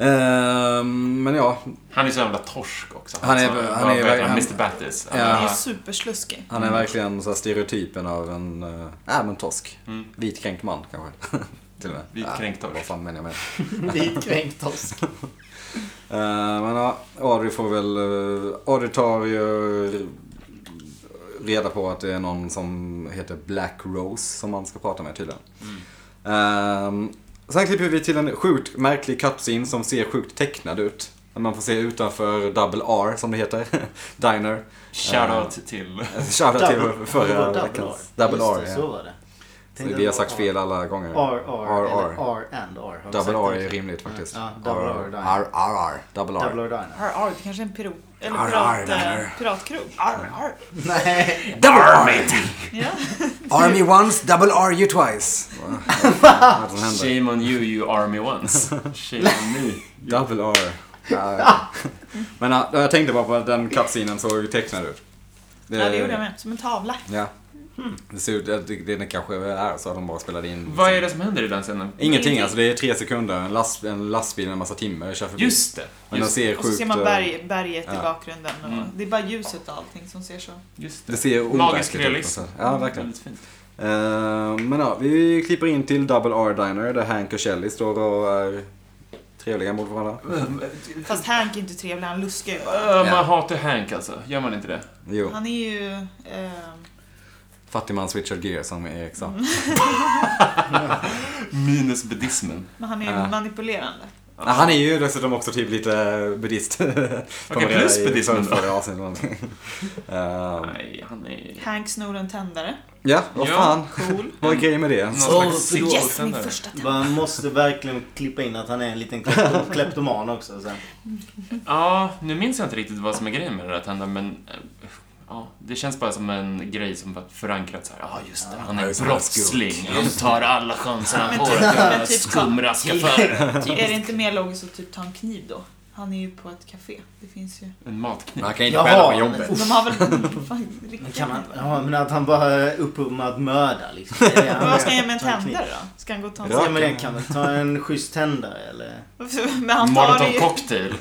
Ehm, men ja, Han är så jävla torsk också. Alltså, Han är- Så, han vad är- heter han, han- Mr Battis. Ja. Han är ju Ja. supersluskig. han är Mm. verkligen så här stereotypen av en, eh, äh, men torsk. Mm. Vit kränkt man kanske. Till och med. Vit Ja, kränkt torsk. Vad fan menar jag med det? Vitkränkt torsk. Eh, men ja, Audrey får väl... eh, Audrey tar ju reda på att det är någon som heter Black Rose som man ska prata med tydligen. Mm. Eh, sen klipper vi till en sjukt märklig cutscene som ser sjukt tecknad ut. Men Man får se utanför Double R som det heter, Diner. Shoutout till... Shoutout till det förra var veckans Double R. Just det, så ja. var det. Så Vi har sagt fel alla gånger. R, R, RR. eller R and R. Har vi Double sagt R det? är rimligt faktiskt. Ja, double R, RR. diner. RRR. Double Double R. R Diner. Arr, arr, det kanske är en pirot, eller Arr, arr, pirat, där. eh, piratkrog. Arr, arr. Nej, Double R! Ja. Army once, double R you twice. Vad som händer. Shame on you, you army ones. Shame on me. Double R. Ja, Men ja, jag tänkte bara på att den cutscenen såg tecknad ut. ja, det gjorde jag med. Som en tavla. Ja. Det ser ut, det, det, det kanske är så att de bara spelade in. Vad är det som händer i den scenen? Ingenting, alltså det är tre sekunder. En, last, en lastbil en massa timmar kör förbi. Just det. Men den Just, ser Och så sjukt... ser man eh, berg, berget i ja. bakgrunden. Och Mm. Det är bara ljuset och allting som ser så. just Det det. ser Magisk overkligt ut på realism. något sätt. Ja, verkligen. Väldigt fint. Eh, men ja, vi klipper in till Double R Diner där Hank och Shelly står och är trevliga mot varandra. Fast Hank är inte trevlig, han luskar ju bara. Ö, Öh, Man hatar Hank alltså. Gör man inte det? Jo, Han är ju... Eh, fattigmans Richard Gere som Erik Mm. sa. Minus buddhismen. men han är ju Ja. manipulerande. Ja, Han är ju dessutom också typ lite buddhist. Okej, plus buddhismen då. uh, Nej, han är... Hank snor en tändare. ja, vad Ja. fan. Cool. Vad är grejen med det? Någon Så, slags förlåt. Yes, min sittkältare. första tändare. Man måste verkligen klippa in att han är en liten klepto- kleptoman också sen. Ja, nu minns jag inte riktigt vad som är grejen med det där tändaren, men... eh, Ja, det känns bara som en grej som varit förankrad så här. Ja, just det. Han Ja, är just det, han är brottsling. skurk. Han tar alla chanser han Men får typ- att men göra typ- skumraskaffärer. Är det inte mer logiskt att typ ta en kniv då? Han är ju på ett café. Det finns ju... En matkniv. Han kan ju Jaha, inte stjäla på men- jobbet. De har väl... Fan, Men riktigt. kan man... Ja, men att han bara är uppummad att mörda liksom. Det är det han Men vad ska är. han göra med Ta en en kniv. tändare då? Ska han gå och ta en... Ja, men det kan väl ta en schysst tändare eller? Men han tar det Molotov ju... cocktail.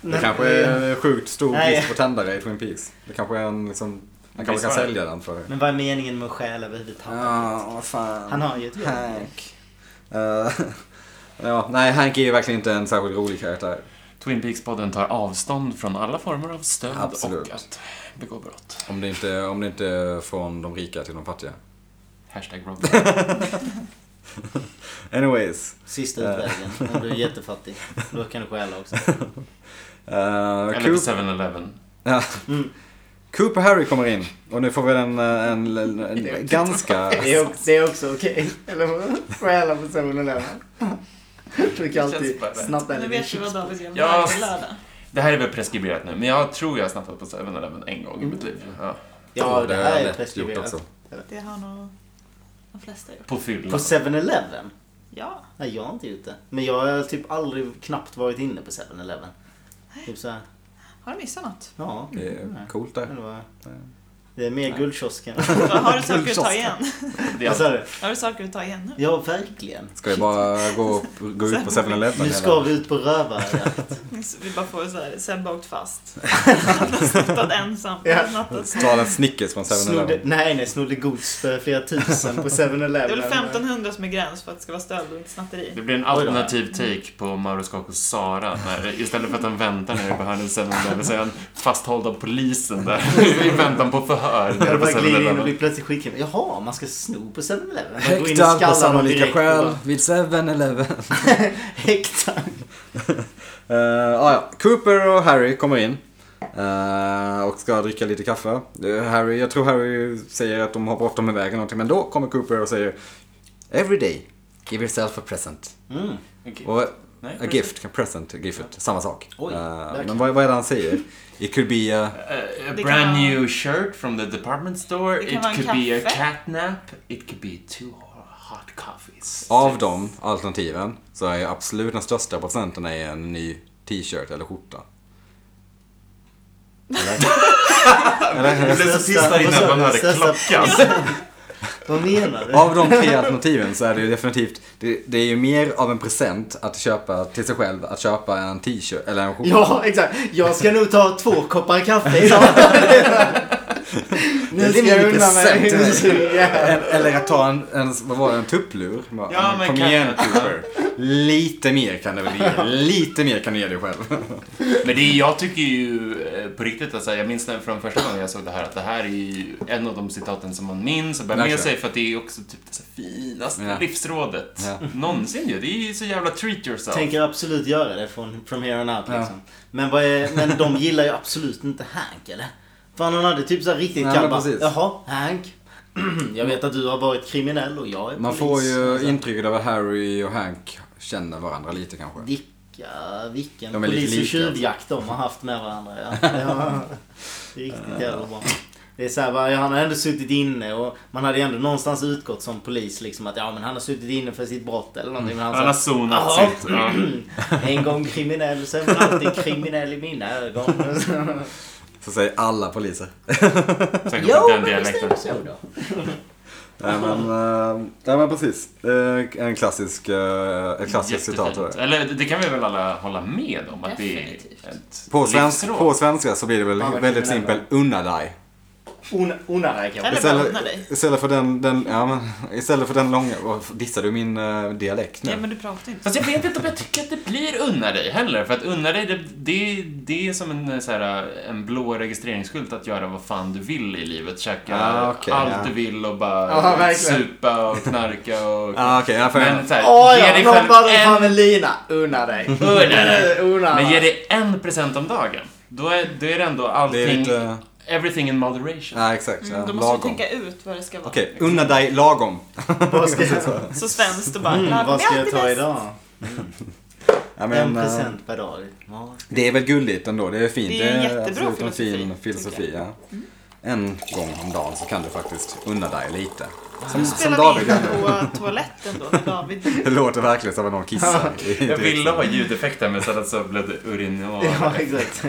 Det kanske eh, är en sjukt stor Nej. brist på tändare i Twin Peaks. Det kanske är en liksom... Han kanske kan Visst var det. sälja den för... Men vad är meningen med att stjäla överhuvudtaget? Ja, vad fan. Han har ju ett jobb. Hank. Eh, ja, nej, Hank är ju verkligen inte en särskilt rolig karaktär. Twin Peaks-podden tar avstånd från alla former av stöd Absolut. och att begå brott. Om det inte, om det inte är från de rika till de fattiga. Hashtag Rob. Anyways. Sista Eh. utvägen. Om du är jättefattig. Då kan du stjäla också. Eh, Eller på Coop- 7-Eleven. Ja. Mm. Cooper Harry kommer in och nu får vi en, eh, en, en, en ganska... Det är, också- det är också okej. Eller vad? Stjäla på 7-Eleven. Brukar Det känns alltid bara rätt. snabba en Nu liten vet du vad chips. David gör Ja. varje lördag. Det här är väl preskriberat nu, men jag tror jag har snattat på 7-Eleven en gång i mitt liv. Ja. Ja, det har jag här är eh, lätt gjort preskriberat. också. Det har nog de flesta gjort. På fyllan. På 7-Eleven? Ja. Nej, jag har inte gjort det. Men jag har typ aldrig knappt varit inne på 7-Eleven. Typ såhär, Har du missat något? ja. Det nej. är coolt Men där. det var- Det är mer guldkiosken. Har du saker att ta igen? Det är Vad sa du? Har du saker att ta igen nu? Ja, verkligen. Ska vi bara gå, upp, gå ut på 7-Eleven? Nu ska vi ut på rövarjakt. Så Vi bara får så här, Sebbe åkt fast. Han har snattat ensam. Han har Ja. snattat. Ta en Snickers från Snodde, 7-Eleven. nej, nej, snodde gods för flera tusen på Det är väl 7-Eleven. 1500 som är gräns för att det ska vara stöld och inte Det snatteri. blir en alternativ take på Mauro Scoccos Sara. När, istället för att han väntar nere på hörnet 7-Eleven så är han fasthålld av polisen där. I väntan på förhör. Jag Nere hade på bara glider in och 7-Eleven. blir plötsligt skitkriminell. Jaha, man ska sno på 7-Eleven? Man går in och Häktad skallar på dem sannolika direkt och skäl bara- vid 7-Eleven. Häktad. Uh, ah, ja. Cooper och Harry kommer in. eh, och ska dricka lite kaffe. Det är Harry, jag tror Harry säger att de har bråttom iväg eller någonting. Men då kommer Cooper och säger Every day, give yourself a present. Mm. Okej. och, Nej, A gift, present, gift, samma sak. Oj, Eh, där kan- men vad, vad är det han säger? It could be a... eh, A, a Det kan brand vara- new shirt from the department store. Det kan It vara en could be a kaffe. catnap. It could be two hot coffees. Av de alternativen så är absolut den största procenten är en ny t-shirt eller skjorta. Jag blev så tyst där innan man hörde klockan. Vad menar du? Av de tre alternativen så är det ju definitivt, det, det är ju mer av en present att köpa till sig själv, att köpa en t-shirt eller en skjorta. Ja, exakt. Jag ska nog ta två koppar kaffe idag. nu Det är ska min jag unna mig. present. Ja. En, eller att ta en, en vad var det, en tupplur? Bara, Ja, men Kom kan- igen Cooper. Lite mer kan du väl ge, lite mer kan du ge dig själv. Men det är, jag tycker ju eh, på riktigt, alltså, jag minns när, från första gången jag såg det här, att det här är ju en av de citaten som man minns och bär med Verkligen. sig för att det är också typ det så finaste Ja. livsrådet Ja. någonsin ju. Det är ju så jävla treat yourself. Tänker absolut göra det från from here on out liksom. men, vad är, men de gillar ju absolut inte Hank eller? Fan han hade typ så här riktigt Nej, kall men bara, precis. Jaha, Hank. Jag vet att du har varit kriminell och jag är Man polis. alltså. får ju Och alltså. så- intrycket av att Harry och Hank känner varandra lite kanske. Vilka, vilken De är lite polis och lika. tjuvjakt de har haft med varandra. Ja. Ja. Det är Riktigt jävla bra. Det är så här, bara, han har ändå suttit inne och man hade ju ändå någonstans utgått som polis liksom att ja men han har suttit inne för sitt brott eller någonting. Men han, Han har sa, zonat "Jaha, sitt. Ja. en gång kriminell så är man alltid kriminell i mina ögon. Så säger alla poliser. Säkert jo på men den visst är dialekten. det så då. Nej men, eh, nej, men precis. Eh, En klassisk, eh, ett klassiskt citat. av Jättefint. det. Eller det kan vi väl alla hålla med om att det är Definitivt. ett På, svensk, livsråd. på svenska så blir det väl Ja, men väldigt kriminella. simpel unna dig. On- Onarare kanske. Eller bara unna dig. istället för den, den, ja, men, istället för den långa... åh, Dissar du min eh, dialekt nu? Nej men du pratar inte. Fast jag vet inte om jag tycker att det blir unna dig heller. För att unna dig, det, det, det är som en, eh, så här, en blå registreringsskylt att göra vad fan du vill i livet. Käka Ah, okej, allt ja. du vill och bara Ja, verkligen. supa och knarka och... Ah, okej, ja, för Men så här, Åh ge ja, dig någon själv bara drar fram en... en lina. Unna dig. Unna dig. Unna Men dig. ge dig en present om dagen. Då är, då är det ändå allting... det är Mm, lite... Everything in moderation. Ja, exakt. Ja, Mm, då måste du lagom. tänka ut vad det ska vara. Okej, unna dig lagom. Vad ska jag, Så svenskt och bara... mm, "Lagom vad är ska jag alltid ta bäst." idag? Ja, En men, eh, present per dag. Ja. det är väl gulligt ändå. Det är fint. Det är en jättebra absolut en filosofi, Mm. fin filosofi. tycker Ja. En gång om dagen så kan du faktiskt unna dig lite. Som, som Spelar vi David in gjorde. på toaletten då när David... Det låter verkligen som att någon kissar. Jag ville ha ljudeffekter men sen så blev det urin och... Ja, exakt.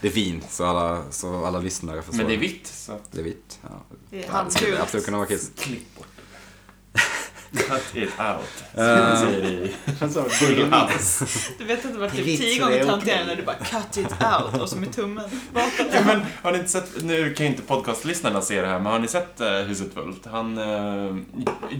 Det är vin, så alla, så alla lyssnare förstår. Men det är vitt, så... Det är vitt. Ja. Det är Ja, det skulle halvgult. absolut kunna vara kiss. Klipp bort det. Cut it out. Eh. Säger det i Han sa Full "Bull-" house. Du vet att det var Det är typ tio vitt, gånger så det är töntigare okej. när du bara cut it out och så med tummen. ja, men, har ni inte sett, nu kan ju inte podcastlyssnarna se det här, men har ni sett eh, Huset Fullt? Han, eh,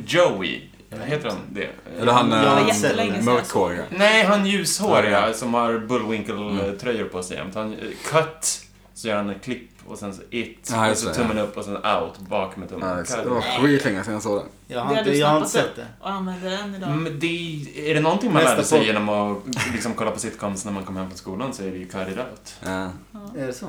Joey, heter han det? Eller han Ja, det var eh, jättelänge sedan jag såg mörkhåriga. Nej, han ljushåriga som har Mm. Bullwinkle-tröjor på sig jämt. Han, eh, cut, så gör han ett klipp och sen så it, Ja, och just så det, tummen upp och sen out, bak med Ja, tummen. det Cut. var skitlänge sedan jag såg den. Jag Det har har inte, du jag har inte snappat sett det. Och använder den idag. Mm, Men det, är- är det någonting man Nästa lärde sig podd. genom att liksom, kolla på sitcoms när man kom hem från skolan så är det ju cut it out. Ja. Är det så?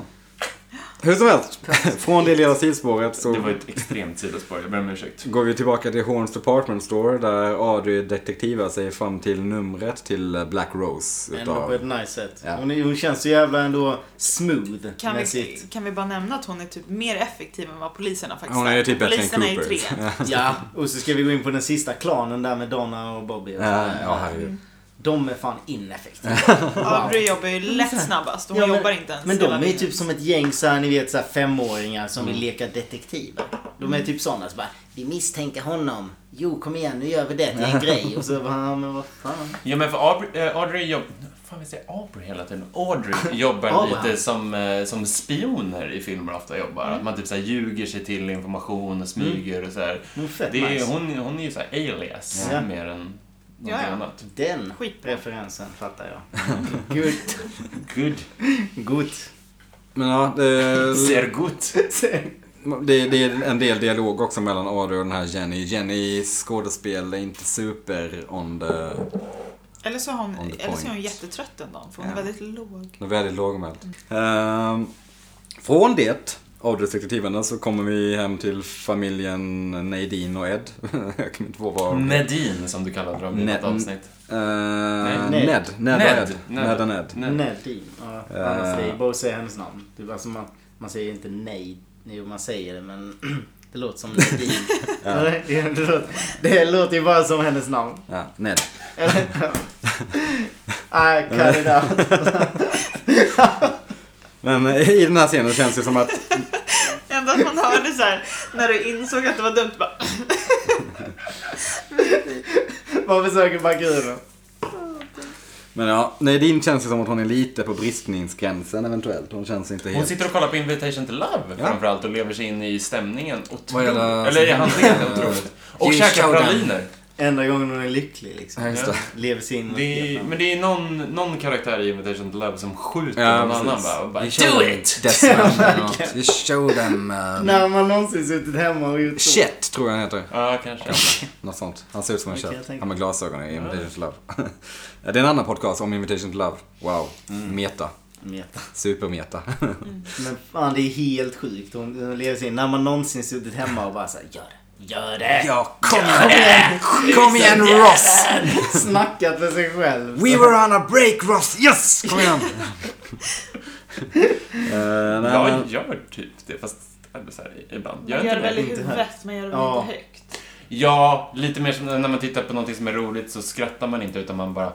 Hur som helst, från det lilla sidospåret Det var så ett extremt sidospår, jag ber om ursäkt. går vi tillbaka till Horns Department Store där Audrey detektivar sig fram till numret till Black Rose. Ändå på ett Utav... nice sätt. Ja. Hon, är- hon känns så jävla ändå smooth Kan med vi, sitt. kan vi bara nämna att hon är typ mer effektiv än vad poliserna faktiskt Hon är typ bättre än Poliserna är ju tre. Cooper. Ja, och så ska vi gå in på den sista klanen där med Donna och Bobby. Och Ja, sådär. ja, herregud. De är fan ineffektiva. Audrey jobbar ju lätt snabbast och hon Ja, men- jobbar inte ens Men de hela är ju dagen. typ som ett gäng så här, ni vet så här femåringar som Mm. vill leka detektiver. De Mm. är typ sådana som bara, vi misstänker honom. Jo, kom igen nu gör vi det till en grej. Och så bara, "Ja, men vad fan. Ja men för Aubrey, eh, Audrey jobb... Fan, vi säger Aubrey hela tiden. Audrey jobbar Oh, wow. lite som, eh, som spioner i filmer ofta jobbar. Att man typ så här ljuger sig till information och smyger och så här. Mm, fett Det är, nice. hon, hon är ju så här alias Ja. mer än någonting Ja, ja. annat. Den Skitbra. referensen fattar jag. Gut. Good. Gut. Men ja, det, Ser gott. det, det är en del dialog också mellan Audrey och den här Jenny. Jennys skådespel är inte super on the... Eller så, har On hon, the eller så är hon point. jättetrött en dag för hon är Ja. väldigt låg. Det är väldigt lågmält. Ehm, från det avdelsdetektiven så kommer vi hem till familjen Nadine och Ed. Jag kommer inte ihåg vad... Nadine som du kallade dem i Ne- något avsnitt. Ehm, Nej. Ned. Ned och Ed. Ned och Ned. Ned. Nadine. Ja, annars säger bara att säga hennes namn. Typ, alltså man, man säger inte nej. Jo, man säger det men det låter som Nadine. Eller? det, det, låter, det låter ju bara som hennes namn. Ja, Ned. Eller? Nej, cut it out. Men eh, i den här scenen känns det som att... Ändå att man hörde så här när du insåg att det var dumt bara Man försöker backa ur det. Men ja, Nadine känns det som att hon är lite på bristningsgränsen eventuellt. Hon känns inte Hon helt... sitter och kollar på Invitation to Love Ja. framförallt och lever sig in i stämningen Vad otroligt. är det- Eller i handlingen otroligt. Och Ljus käkar showdown. praliner. Enda gången hon är lycklig liksom. Ja, just det. Lever sig in och Det är, Mm. skepnar. men det är någon, någon karaktär i Invitation to Love som skjuter Ja, någon precis. annan bara, och bara You show Do them it! Death Stranding. You show them... Uh, När man någonsin suttit hemma och gjort så. eh, Shit, tror jag han heter. Ja, kanske. Något sånt. Han ser ut som en Okej, okay, jag tänker- Han med glasögon i Invitation to Love. Ja, det är en annan podcast om Invitation to Love. Wow. Mm. Meta. Meta. Supermeta. Men fan det är helt sjukt. Hon, hon lever sig in. När man någonsin suttit hemma och bara såhär, gör det. Gör det! ja, kom igen! Kom igen Ross! Snackat med sig själv. We were on a break Ross! Yes! Kom igen! Eh, nej, men- Jag gör typ det, fast eller så här, ibland. Gör Man jag gör inte det väl i det? inte huvudet men gör det Ja. väl inte högt. Ja, lite mer som när man tittar på någonting som är roligt så skrattar man inte utan man bara...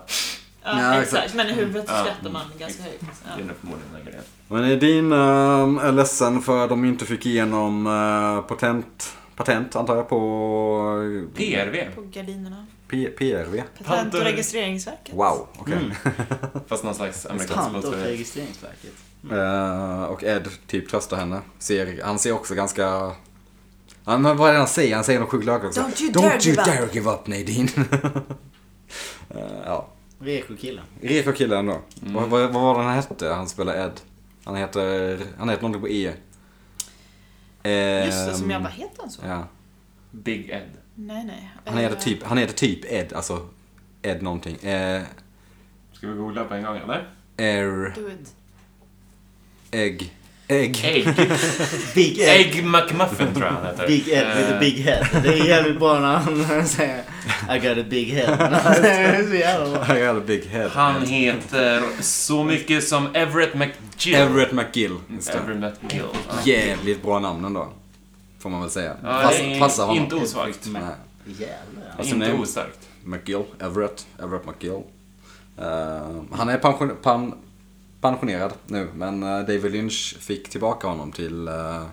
Ja, Ja, Mm. exakt. Men i Mm. huvudet Ja. skrattar man ganska högt. Ja. Det är nog förmodligen den här grejen. Men Edin äh, är ledsen för att de inte fick igenom eh, patent, patent antar jag på PRV. På gardinerna. P- PRV? Patent och Panter. registreringsverket. Wow, okej. Mm. Fast någon slags amerikansk Pant och motsvarighet. registreringsverket. Eh, och Ed typ tröstar henne. Ser, han ser också ganska... Han, men vad är det han säger? Han säger något sjukt lökigt också. Don't you dare you give up." dare give up Nadine. Eh, ja. Reko-killen. Reko killen då. Mm. Vad, vad, vad var det han hette? Han spelar Ed. Han heter... Han heter någonting på E. Eh, Just det, som jag bara, heter han så? Ja. Big Ed. Nej, nej. Han Eh, heter typ, han heter typ Ed, alltså Ed någonting. Eh, Ska vi googla på en gång eller? er, Do it. egg, egg. Egg. Big Ed. Egg McMuffin tror jag han heter. Big Ed with a Eh, big head. Det är jävligt bra när han säger I got a big head. Det är så jävla bra. I got a big head. Han heter så mycket som Everett McGill. Everett McGill. just det. Everett McGill. Ja. Jävligt bra namn ändå. Får man väl säga. Ja, Pass, det är passar honom. Inte osvagt. Nej. Jävlar. Alltså, Inte nej. ostarkt. McGill, Everett, Everett McGill. Eh, han är pension, pan, pensionerad nu, men eh, David Lynch fick tillbaka honom till eh,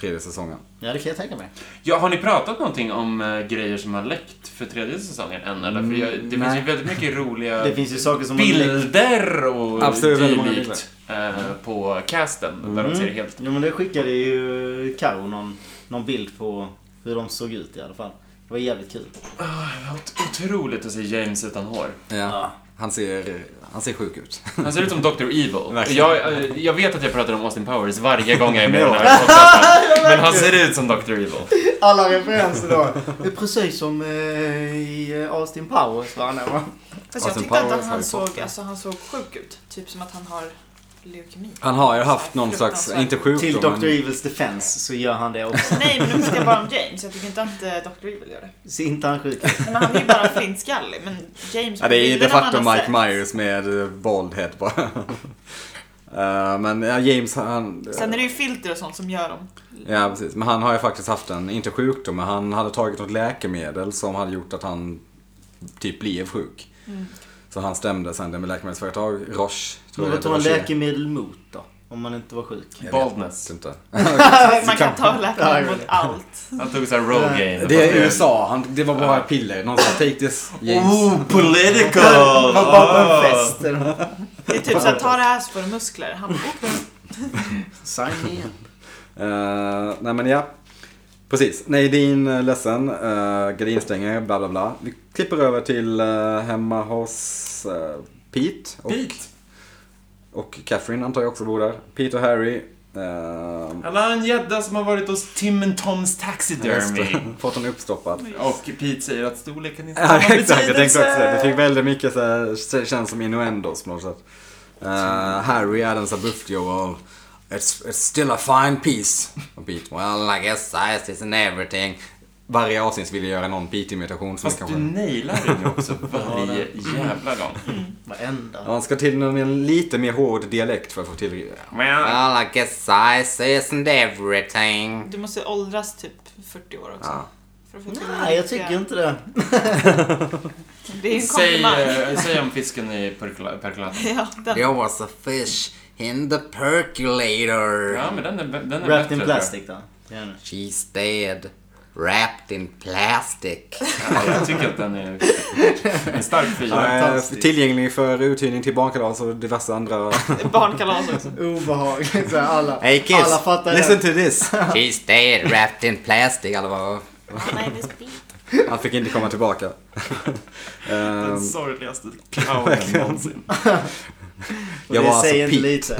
tredje säsongen. Ja, det kan jag tänka mig. Ja, har ni pratat någonting om eh, grejer som har läckt för tredje säsongen än? Eller? För jag, det finns Mm, nej. ju väldigt mycket roliga Det finns ju saker som har läckt. bilder och Absolut, väldigt många Mm. dylikt eh, på casten. Där de ser helt... Ja, men det skickade ju Karo någon, någon bild på hur de såg ut i alla fall. Det var jävligt kul. Ah, Otroligt att se James utan hår. Ja. Han, ser, han ser sjuk ut. Han ser ut som Dr. Evil. Verkligen. Jag, eh, jag vet att jag pratar om Austin Powers varje gång jag är med i den här podcasten. Men han ser ut som Dr. Evil. Alla referenser då. Det är precis som eh, i eh, Austin Powers va? När man- Fast jag Austin tyckte Powers, Alltså, att Harry han såg, Potter. alltså, han såg sjuk ut. Typ som att han har leukemi. Han har ju haft någon slags, Fruktansvärt. inte sjukdom, Till Dr. men Evils defense så gör han det också. Nej, men nu ska jag bara om James. Jag tycker inte att eh, Dr. Evil gör det. Så inte han sjuk. Men han är ju bara flintskallig. Men James ja, det är ju de bilderna man facto har Mike Myers sett- med eh, bald head bara. Eh, men ja, James han... Sen är det ju filter och sånt som gör dem. Ja, precis. Men han har ju faktiskt haft en, inte sjukdom, men han hade tagit något läkemedel som hade gjort att han typ blev sjuk. Så han stämde sen det med läkemedelsföretag, Roche, Men jag vad det tar han Roche är. läkemedel mot då? Om man inte var sjuk. Jag vet Baldness. inte. Man kan ta Ja, läkare jag mot vet. allt. Han tog såhär Rogaine. Det är USA, han, det var bara piller. Någon sa take this James. Oh, political! Vad var på en Ah. fest? Det är typ såhär, ta det här så får du muskler. Han bara, okej. Sign in. Eh, nej men ja. Precis. Nadine är ledsen. Uh, gardinstänger, bla bla bla. Vi klipper över till eh, hemma hos eh, Pete. Och, Pete. och Catherine antar jag också bor där. Pete och Harry. eh, Han har en gädda som har varit hos Tim and Toms Taxidermy. Fått den uppstoppad. Och Pete säger att storleken inte Ja, har någon exakt. Jag tänkte också det. Det betydelse. fick väldigt mycket så här, känns som innuendos på något sätt. Eh, Harry är den så här buffliga och It's, it's still a fine piece. och Pete. Well, I guess size isn't everything. Varje avsnitt vill jag göra någon Pete-imitation. som Fast kanske- du nailar det nu också varje jävla gång. Varenda. Ja, Han ska till med en lite mer hård dialekt för att få till... Men Well, I guess size isn't everything. Du måste åldras typ 40 år också. Ja. För att få till Nej, jag riktiga- tycker inte det. Det är säg, en komplimang. eh, säg om fisken i perkola- perkolaten. Ja, den. There was a fish in the percolator. Ja, men den är, bä- den är Wrapped bättre. in tror jag. plastic då. Ja, nu. She's dead, wrapped in plastic. Ja, jag tycker att den är en stark fyra. Eh, Fantastiskt. tillgänglig för uthyrning till barnkalas och diverse andra... Barnkalas också. Obehagligt. så här, Alla, Hey, kids. alla fattar Listen det. to this! She's dead, wrapped in plastic. Eller vad? Nej, det är sprit. Han fick inte komma tillbaka. Eh, Den sorgligaste clownen någonsin. Och Jag det var alltså säger inte Pete. lite.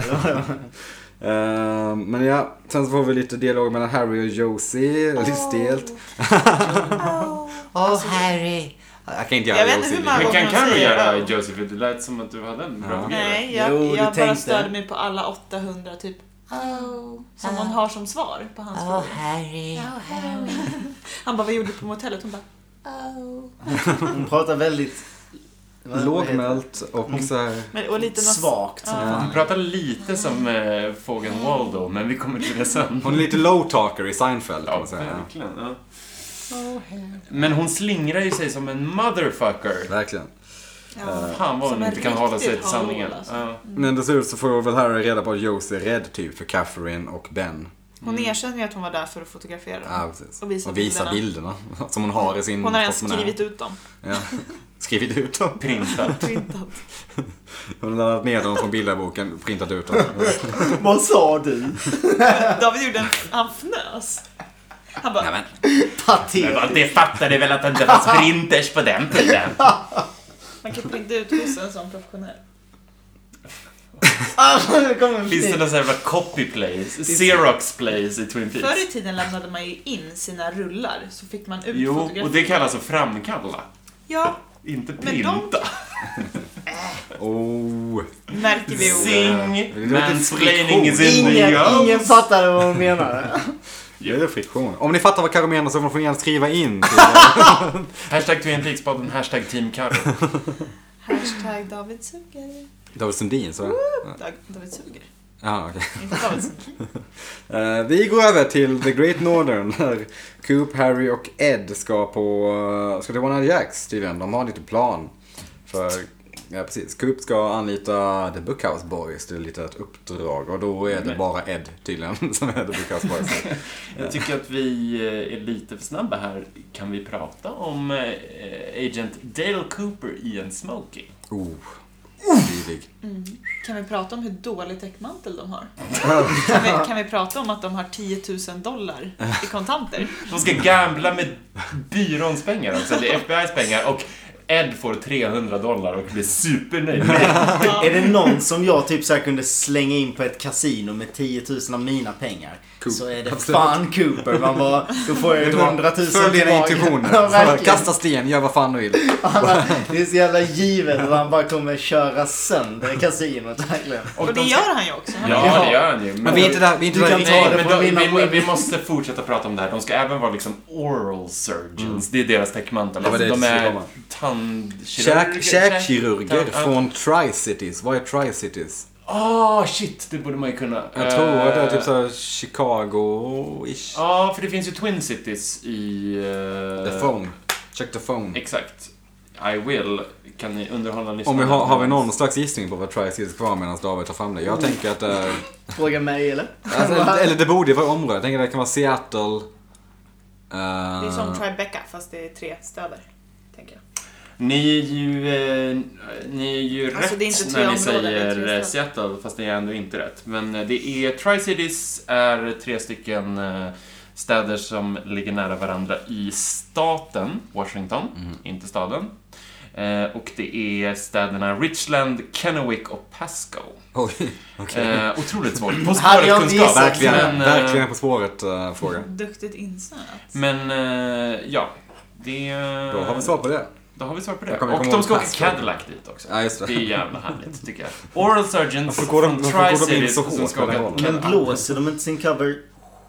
Eh, men ja, sen så får vi lite dialog mellan Harry och Josie. Lite stelt. Oh, Harry. Jag kan inte Jag göra vet inte Josie. hur många Men kan gånger kan du säger göra det. Joseph? Det lät som att du hade en bra fungerare. Nej, jag, Jo, du jag bara tänkte. störde mig på alla 800 typ Oh, som hon har som svar på hans frågor. Harry. Han bara, vad gjorde du på motellet? Hon bara, oh. Hon pratar väldigt... vad- vad heter det? Lågmält och så här... Men, och lite nos- Svagt som Du fan. pratar lite som eh, fågeln Waldo, men vi kommer till det sen. Hon är lite low-talker i Seinfeld kan Ja, man säga. verkligen. Ja. Men hon slingrar ju sig som en motherfucker. Ja, verkligen. Ja. Fan vad hon Som en inte kan hålla sig riktigt till sanningen. hallå, alltså. Ja. Men till slut så får väl Harry reda på att Josie är rädd typ för Catherine och Ben. Hon erkänner ju att hon var där för att fotografera dem. Ah, Ja, precis. Och visa och visa bilderna. som hon har i sin Hon har ens portmonnä. skrivit ut dem. Ja. Skrivit ut dem. Printat. Printat. Hon har laddat ner dem från bilderboken, printat ut dem. Vad sa du? David gjorde en... Han fnös. Han bara... Nej, men. Men Patetiskt. vad- det fattade väl att det inte fanns printers på den tiden. Man kan printa ut hos en sån professionell. Ah, det kommer en Finns det fin- någon sån här jävla copy place? Xerox place i Twin Peaks? Förr i tiden lämnade man ju in sina rullar så fick man ut Jo, fotografier. och det kallas att framkalla. Ja, Inte de- printa. Oh. märker vi ordet. Zing! låter Mansplaining is in the Ingen, ingen house. fattade vad hon menade. Det är friktion. Om ni fattar vad Carro menar så får ni gärna skriva in. Till, Hashtag Twin Peaks-podden, hashtag Team Carro. Hashtag David suger. David Sundin, så. Dag- David suger. Ja, okej. Inte David suger. Eh, vi går över till The Great Northern där Coop, Harry och Ed ska på, eh, ska till One Eye Jacks tydligen. De har lite plan. För, ja precis, Coop ska anlita The Bookhouse Boys till lite ett uppdrag och då är det Nej. bara Ed tydligen som är The Bookhouse Boys. Jag tycker att vi eh, är lite för snabba här. Kan vi prata om eh, Agent Dale Cooper i en smoking? oh, vidrig. Mm. Kan vi prata om hur dålig täckmantel de har? Kan vi, kan vi prata om att de har 10 000 dollar i kontanter? De ska gambla med byråns pengar också, det är FBI's pengar och Ed får 300 dollar och blir supernöjd med det. Är det någon som jag typ så här kunde slänga in på ett kasino med 10 000 av mina pengar Coop. så är det Absolut. fan Cooper. Man bara, då får jag Vet ju du vad? 100 000 Följ dina tillbaka. Ja, intuitioner. verkligen. Kasta sten, gör vad fan du vill. Alla- Det är så jävla givet att han bara kommer köra sönder kasinot verkligen. Och det gör han ju också. Han Ja, det gör han ju. Men vi är inte där, vi är inte Du där kan riktigt. ta Nej, det men på de, mina vi, poäng. vi måste fortsätta prata om det här. De ska även vara liksom oral surgeons. Det är deras täckmantel. Mm. Det var det Alltså, de jag skulle är komma. tandkirurger. Käk- Käkkirurger tand- från Tri-Cities. Vad är Tri-Cities? Ah, shit! Det borde man ju kunna. Jag tror att det är Eh, typ såhär Chicago-ish. Ja, för det finns ju Twin Cities i... eh, The phone. Check the phone. Exakt. I will. Kan ni underhålla Om lyssnarna? vi har, har vi någon slags gissning på vad Tri-Cities är kvar medan David tar fram det? Jag Mm. tänker att det är... Fråga mig eller? Alltså, eller det borde ju vara område. Jag tänker att det kan vara Seattle. eh, Det är som Mm. Tribeca fast det är tre städer. Tänker jag. Ni är ju, eh, ni är ju Alltså, rätt det är inte tre när ni områden, det är säger tre eh, städer. Seattle, fast ni är ändå inte rätt. Men eh, det är, Tri-Cities är tre stycken eh, städer som ligger nära varandra i staten Washington, Mm. inte staden. Eh, Och det är städerna Richland, Kennewick och Pasco. Oj, okej. Eh, otroligt svårt. På Hade jag spåret inte kunskap. gissat. verkligen, men, eh, verkligen På eh, spåret-fråga. Duktigt insnöat. Men, eh, ja. Det... eh, Då har vi svar på det. Då har vi svar på det. Jag kommer Och komma de ska ihåg åka Pasco. Cadillac dit också. Ja, just det. Det är jävla härligt, tycker jag. Oral surgeons Varför går de- från varför går de in Tri-Cities så hårt som ska på den åka rollen? Men Cadillac. blåser de inte sin cover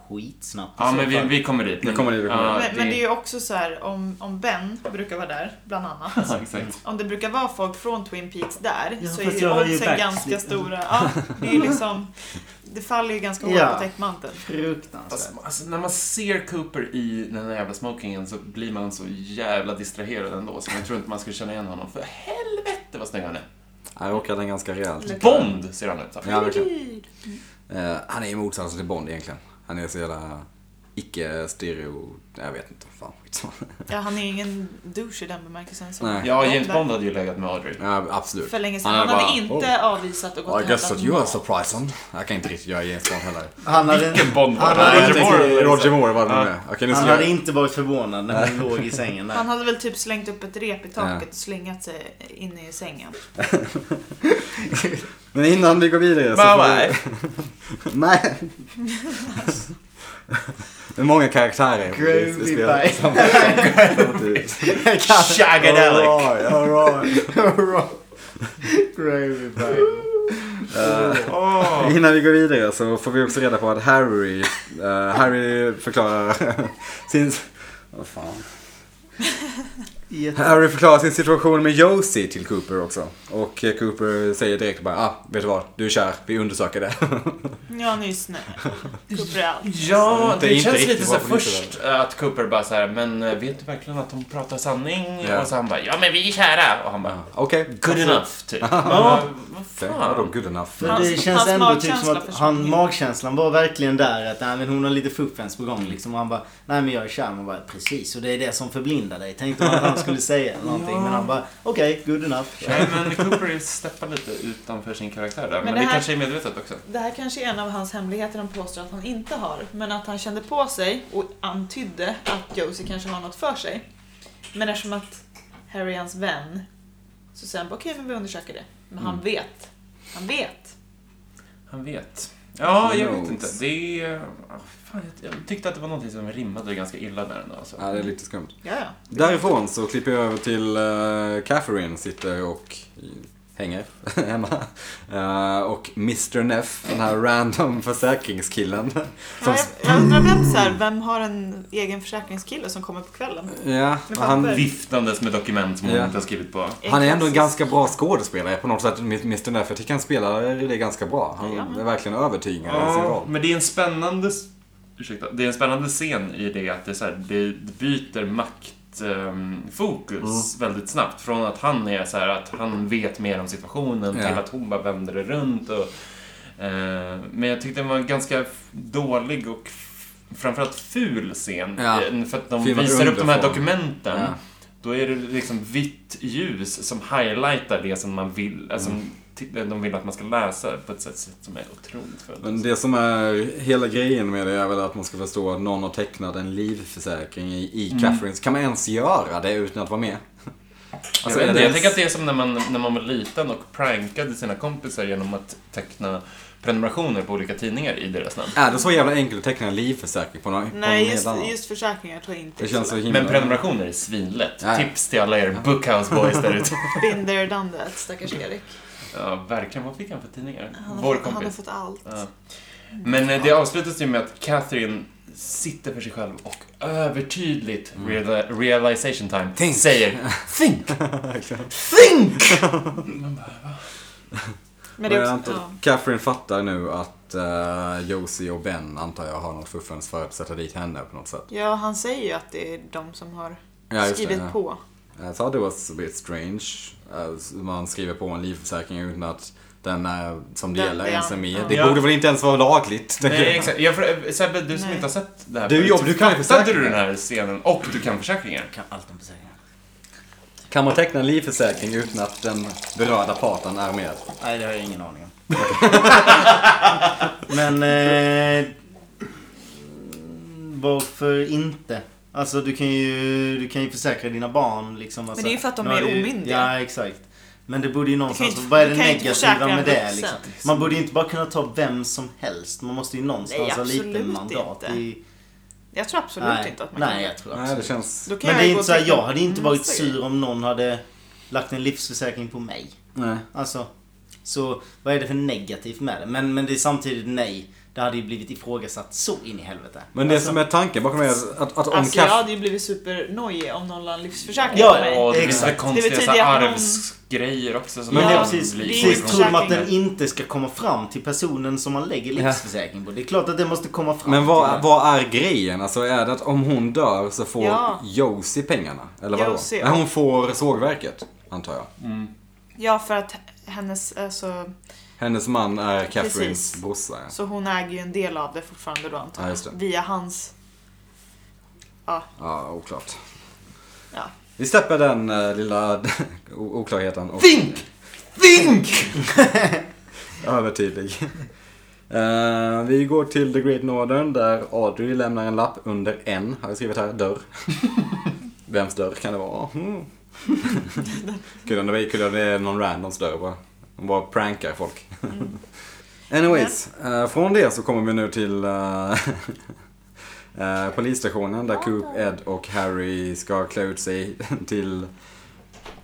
skitsnabbt? i Ja, så men vi, fall? vi kommer dit. Vi kommer dit, vi kommer ja, Men, men det är ju också så här om, om Ben brukar vara där, bland annat. Ja, exakt. Om det brukar vara folk från Twin Peaks där Ja, så fast jag är ju har ju oddsen backslip. ganska stora. Ja, det, är liksom, det faller ju ganska hårt Ja. på täckmanteln. Fruktansvärt. Alltså, alltså, när man ser Cooper i den här jävla smokingen så blir man så jävla distraherad ändå så jag tror inte man skulle känna igen honom. För helvete vad snygg han är. Jag råkade den ganska rejält. Bond ser han ut som. Ja, verkligen. Eh, han är ju motsatsen till Bond egentligen. Han är så jävla icke-stereo... Jag vet inte. Fan, skitsamma. Ja, han är ju ingen douche i den bemärkelsen. Så. Nej. Ja, James Bond hade ju legat med Audrey. Ja, absolut. För länge sedan. är Han hade bara, inte avvisat och "Oh, gått I och guess hämtat that you are mat. surprising. Jag kan inte riktigt göra James Bond heller. Han hade, Vilken Bond var han det? hade, Roger Roger inte, Moore. Moore, Roger Moore var det Ja. med. Okej, nu ska han jag... hade inte varit förvånad när han låg i sängen Han där. hade väl typ slängt upp ett rep i taket Ja. och slängat sig in i sängen. Men innan vi går vidare så får vi... Nej. Det är många karaktärer. i- i Groovy spelet. bye. Samtidigt. Shagadelic. Alright, alright. Groovy bye. Åh. Innan vi går vidare så får vi också reda på att Harry, eh, Harry förklarar sin... Vad fan. I ett... Harry förklarar sin situation med Josie till Cooper också. Och eh, Cooper säger direkt bara, ah, vet du vad, du är kär, vi undersöker det. Ja, han är ju snäll. Cooper är allt. Ja, Inte- det inte känns riktigt lite så vad polisen först att Cooper bara så här, men eh, vet du verkligen att hon pratar sanning? Ja. Alltså, Och så han bara, ja men vi är kära. Och han bara, Okej. good enough, typ. Ja, vad Okej, Vadå fan. good enough? Men det Hans- känns hans ändå typ som magkänsla att försvann Mm. han, inte. magkänslan var verkligen där. Att nej, men hon har lite fuffens på gång liksom. Och han bara, nej men jag är kär. Man bara, precis. Och det är det som förblindar dig. Tänkte man att han skulle säga eller någonting. Men han bara, okej, good enough. Nej, men Cooper steppar lite utanför sin karaktär där. Men, det det här- kanske är medvetet också. Det här kanske är en av hans hemligheter han påstår att han inte har. Men att han kände på sig och antydde att Josie kanske har något för sig. Men eftersom att Harry är hans vän så säger han bara okej, men vi undersöker det. Men Mm. han vet. Han vet. Han vet. Ja, jag vet Knows. inte. Det är... ah, Fan, jag jag tyckte att det var någonting som rimmade ganska illa där ändå. Alltså. Ja, det är lite skumt. Ja, ja. Därifrån så klipper jag över till eh, Catherine sitter och hänger hemma. Eh, och Mr Neff, den här random försäkringskillen. Som, Ja, jag, jag undrar vem, så här, vem har en egen försäkringskille som kommer på kvällen? ja, Men han, papper. Viftandes med dokument som hon Ja. inte har skrivit på. han är ändå en ganska bra skådespelare på något sätt, Mr Neff. Jag tycker han spelar det ganska bra. Ja, Han men- är verkligen övertygande i sin Ja, roll. men det är en spännande... s- Ursäkta. Det är en spännande scen i det att det, är så här, det det byter maktfokus ehm, Mm. fokus väldigt snabbt. Från att han är så här att han vet mer om situationen Ja. till att hon bara vänder det runt. Och, eh, men jag tyckte det var en ganska f- dålig och f- framförallt ful scen. Ja. Eh, För att de Filmat visar upp de här underifrån. dokumenten. Ja. Då är det liksom vitt ljus som highlightar det som man vill, alltså, Mm. t- de vill att man ska läsa på ett sätt som är otroligt fult. Men det som är hela grejen med det är väl att man ska förstå att någon har tecknat en livförsäkring i, i Catherines. Kan man ens göra det utan att vara med? Alltså, Mm. jag, vet är inte, det jag ens- tänker att det är som när man, när man var liten och prankade sina kompisar genom att teckna prenumerationer på olika tidningar i deras namn. Är det så jävla enkelt att teckna en livförsäkring på någon, på Nej, någon just, helt annan? just försäkringar tror jag inte Det känns så himla... Men prenumerationer är svinlätt. Mm. Ja. Tips till alla er bookhouse boys där ute. Been there, done that, stackars Erik. Ja, verkligen. Vad fick han för tidningar? Han Vår har, fått, han har kompis. fått allt. Ja. Men eh, det avslutas ju med att Catherine sitter för sig själv och övertydligt reali- realization time Mm. Think. säger Men det är jag också, antar- ja. Catherine fattar nu att uh, Josie och Ben antar jag har något fuffens för att sätta dit henne på något sätt. ja, han säger ju att det är de som har Ja, just det, skrivit ja. på. I thought it was a bit strange. As man skriver på en livförsäkring utan att den är, som det Den- gäller ja. ens är med. Ja. Det Ja. borde väl inte ens vara lagligt? Nej, exakt. Jag, frå- eh, Sebbe, du som Nej. inte har sett det här Du, förut, Jobb, så du kan ju fattade du försäkringar. den här scenen och du kan försäkringar. Jag kan allt om försäkringar. Kan man teckna en livförsäkring utan att den berörda parten är med? Nej, det har jag ingen aning om. Men... Eh, varför inte? Alltså du kan ju, du kan ju försäkra dina barn liksom. Alltså, det är ju för att de nu har är du- omyndiga. Ja, exakt. Men det borde ju någonstans, inte- vad är du det kan ju inte negativa försäkra med en det vuxen. liksom? Man borde ju inte bara kunna ta vem som helst. Man måste ju någonstans Nej, ha lite absolut mandat inte. i... Jag tror absolut Nej, inte att man nej kan. jag tror Nej, absolut det känns... Då kan Men det ju är inte gå och så här, teckna jag hade inte varit massa grejer. sur om någon hade lagt en livsförsäkring på mig. Nej. Alltså, så vad är det för negativt med det? Men, men det är samtidigt nej. Det hade ju blivit ifrågasatt så in i helvete. Men det Alltså, som är tanken bakom det är att, att om Alltså jag Catherine... hade ju blivit supernojig om någon la en livsförsäkring Ja, på mig. Ja, det finns Exakt. väl konstiga Det så betyder här att någon- arvsgrejer också som liksom Men Ja, det är kan precis, bli det är precis ju tror man att den försäkringen. inte ska komma fram till personen som man lägger livsförsäkring på. Det är klart att den måste komma fram. Men till vad, den. vad är grejen? Alltså är det att om hon dör så får Ja. Josie pengarna? Eller vadå? Josie, Nej, hon får sågverket, antar jag. Ja, för att hennes, alltså, Hennes man är Catherines Precis. brorsa. ja. så hon äger ju en del av det fortfarande då antar Ja, jag. just det. Via hans, ja, Ja, oklart. ja. Vi släpper den eh, lilla o- oklarheten. Och Think! Think! Övertydlig. Eh, vi går till The Great Northern där Audrey lämnar en lapp under en, har jag skrivit här, dörr. Vems dörr kan det vara? Mm. Kul om det var- kul om det är någon randoms dörr bara. Hon bara prankar folk. Anyways, eh, från det så kommer vi nu till eh, eh, polisstationen där Coop, Ed och Harry ska klä ut sig till,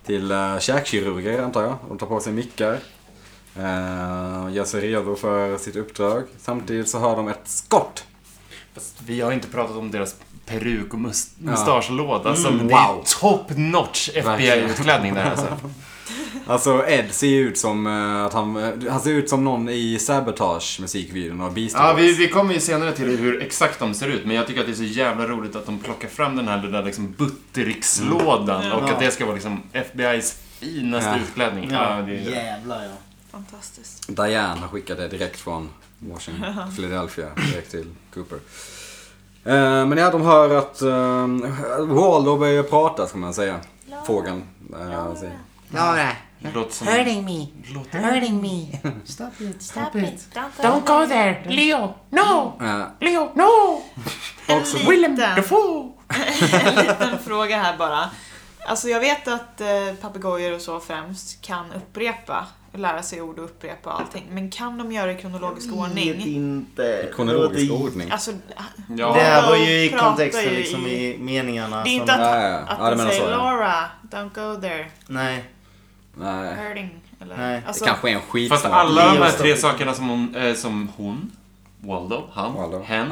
till uh, käkkirurger antar jag. De tar på sig mickar. Eh, gör sig redo för sitt uppdrag. Samtidigt så hör de ett skott. Fast vi har inte pratat om deras peruk och mus- mustaschlåda. som Mm, det är wow. top notch FBI-utklädning där alltså. Alltså Ed ser ju ut som eh, att han, eh, han ser ut som någon i Sabotage musikvideon och Beastie Ja, vi, Boys. vi kommer ju senare till hur exakt de ser ut, men jag tycker att det är så jävla roligt att de plockar fram den här lilla liksom butterickslådan Mm. och Ja. att det ska vara liksom FBI's finaste Ja. utklädning. Ja, Ja, det är, jävlar ja. Fantastiskt. Diane har skickat det direkt från Washington, Philadelphia, direkt till Cooper. Eh, Men ja, de hör att uh, Waldo börjar prata, ska man säga. Fågeln. eh, säger. Laura, det låter som... hurting me. Låter... Hurting me. Stop Stop it. Don't, Don't go there. Leo, no. Eh, Leo, no. Också. En Willem liten, Dafoe. en liten fråga här bara. Alltså jag vet att eh, papegojor och så främst kan upprepa, lära sig ord och upprepa allting. Men kan de göra det i kronologisk Mm. Vet ordning? inte. Kronologisk Det- ordning. Alltså, Det Ja, här var ju i Pratar kontexten ju liksom i meningarna. det är inte som, att, Ja, ja, ja. att Ja, det de menar säger så, ja. Laura, don't go there, Nej. Nej. hurting. Eller, Nej. Det alltså, kanske är en skit. fast alla de här Leo- tre sakerna som hon, eh, som hon Waldo, han, Waldo. hen,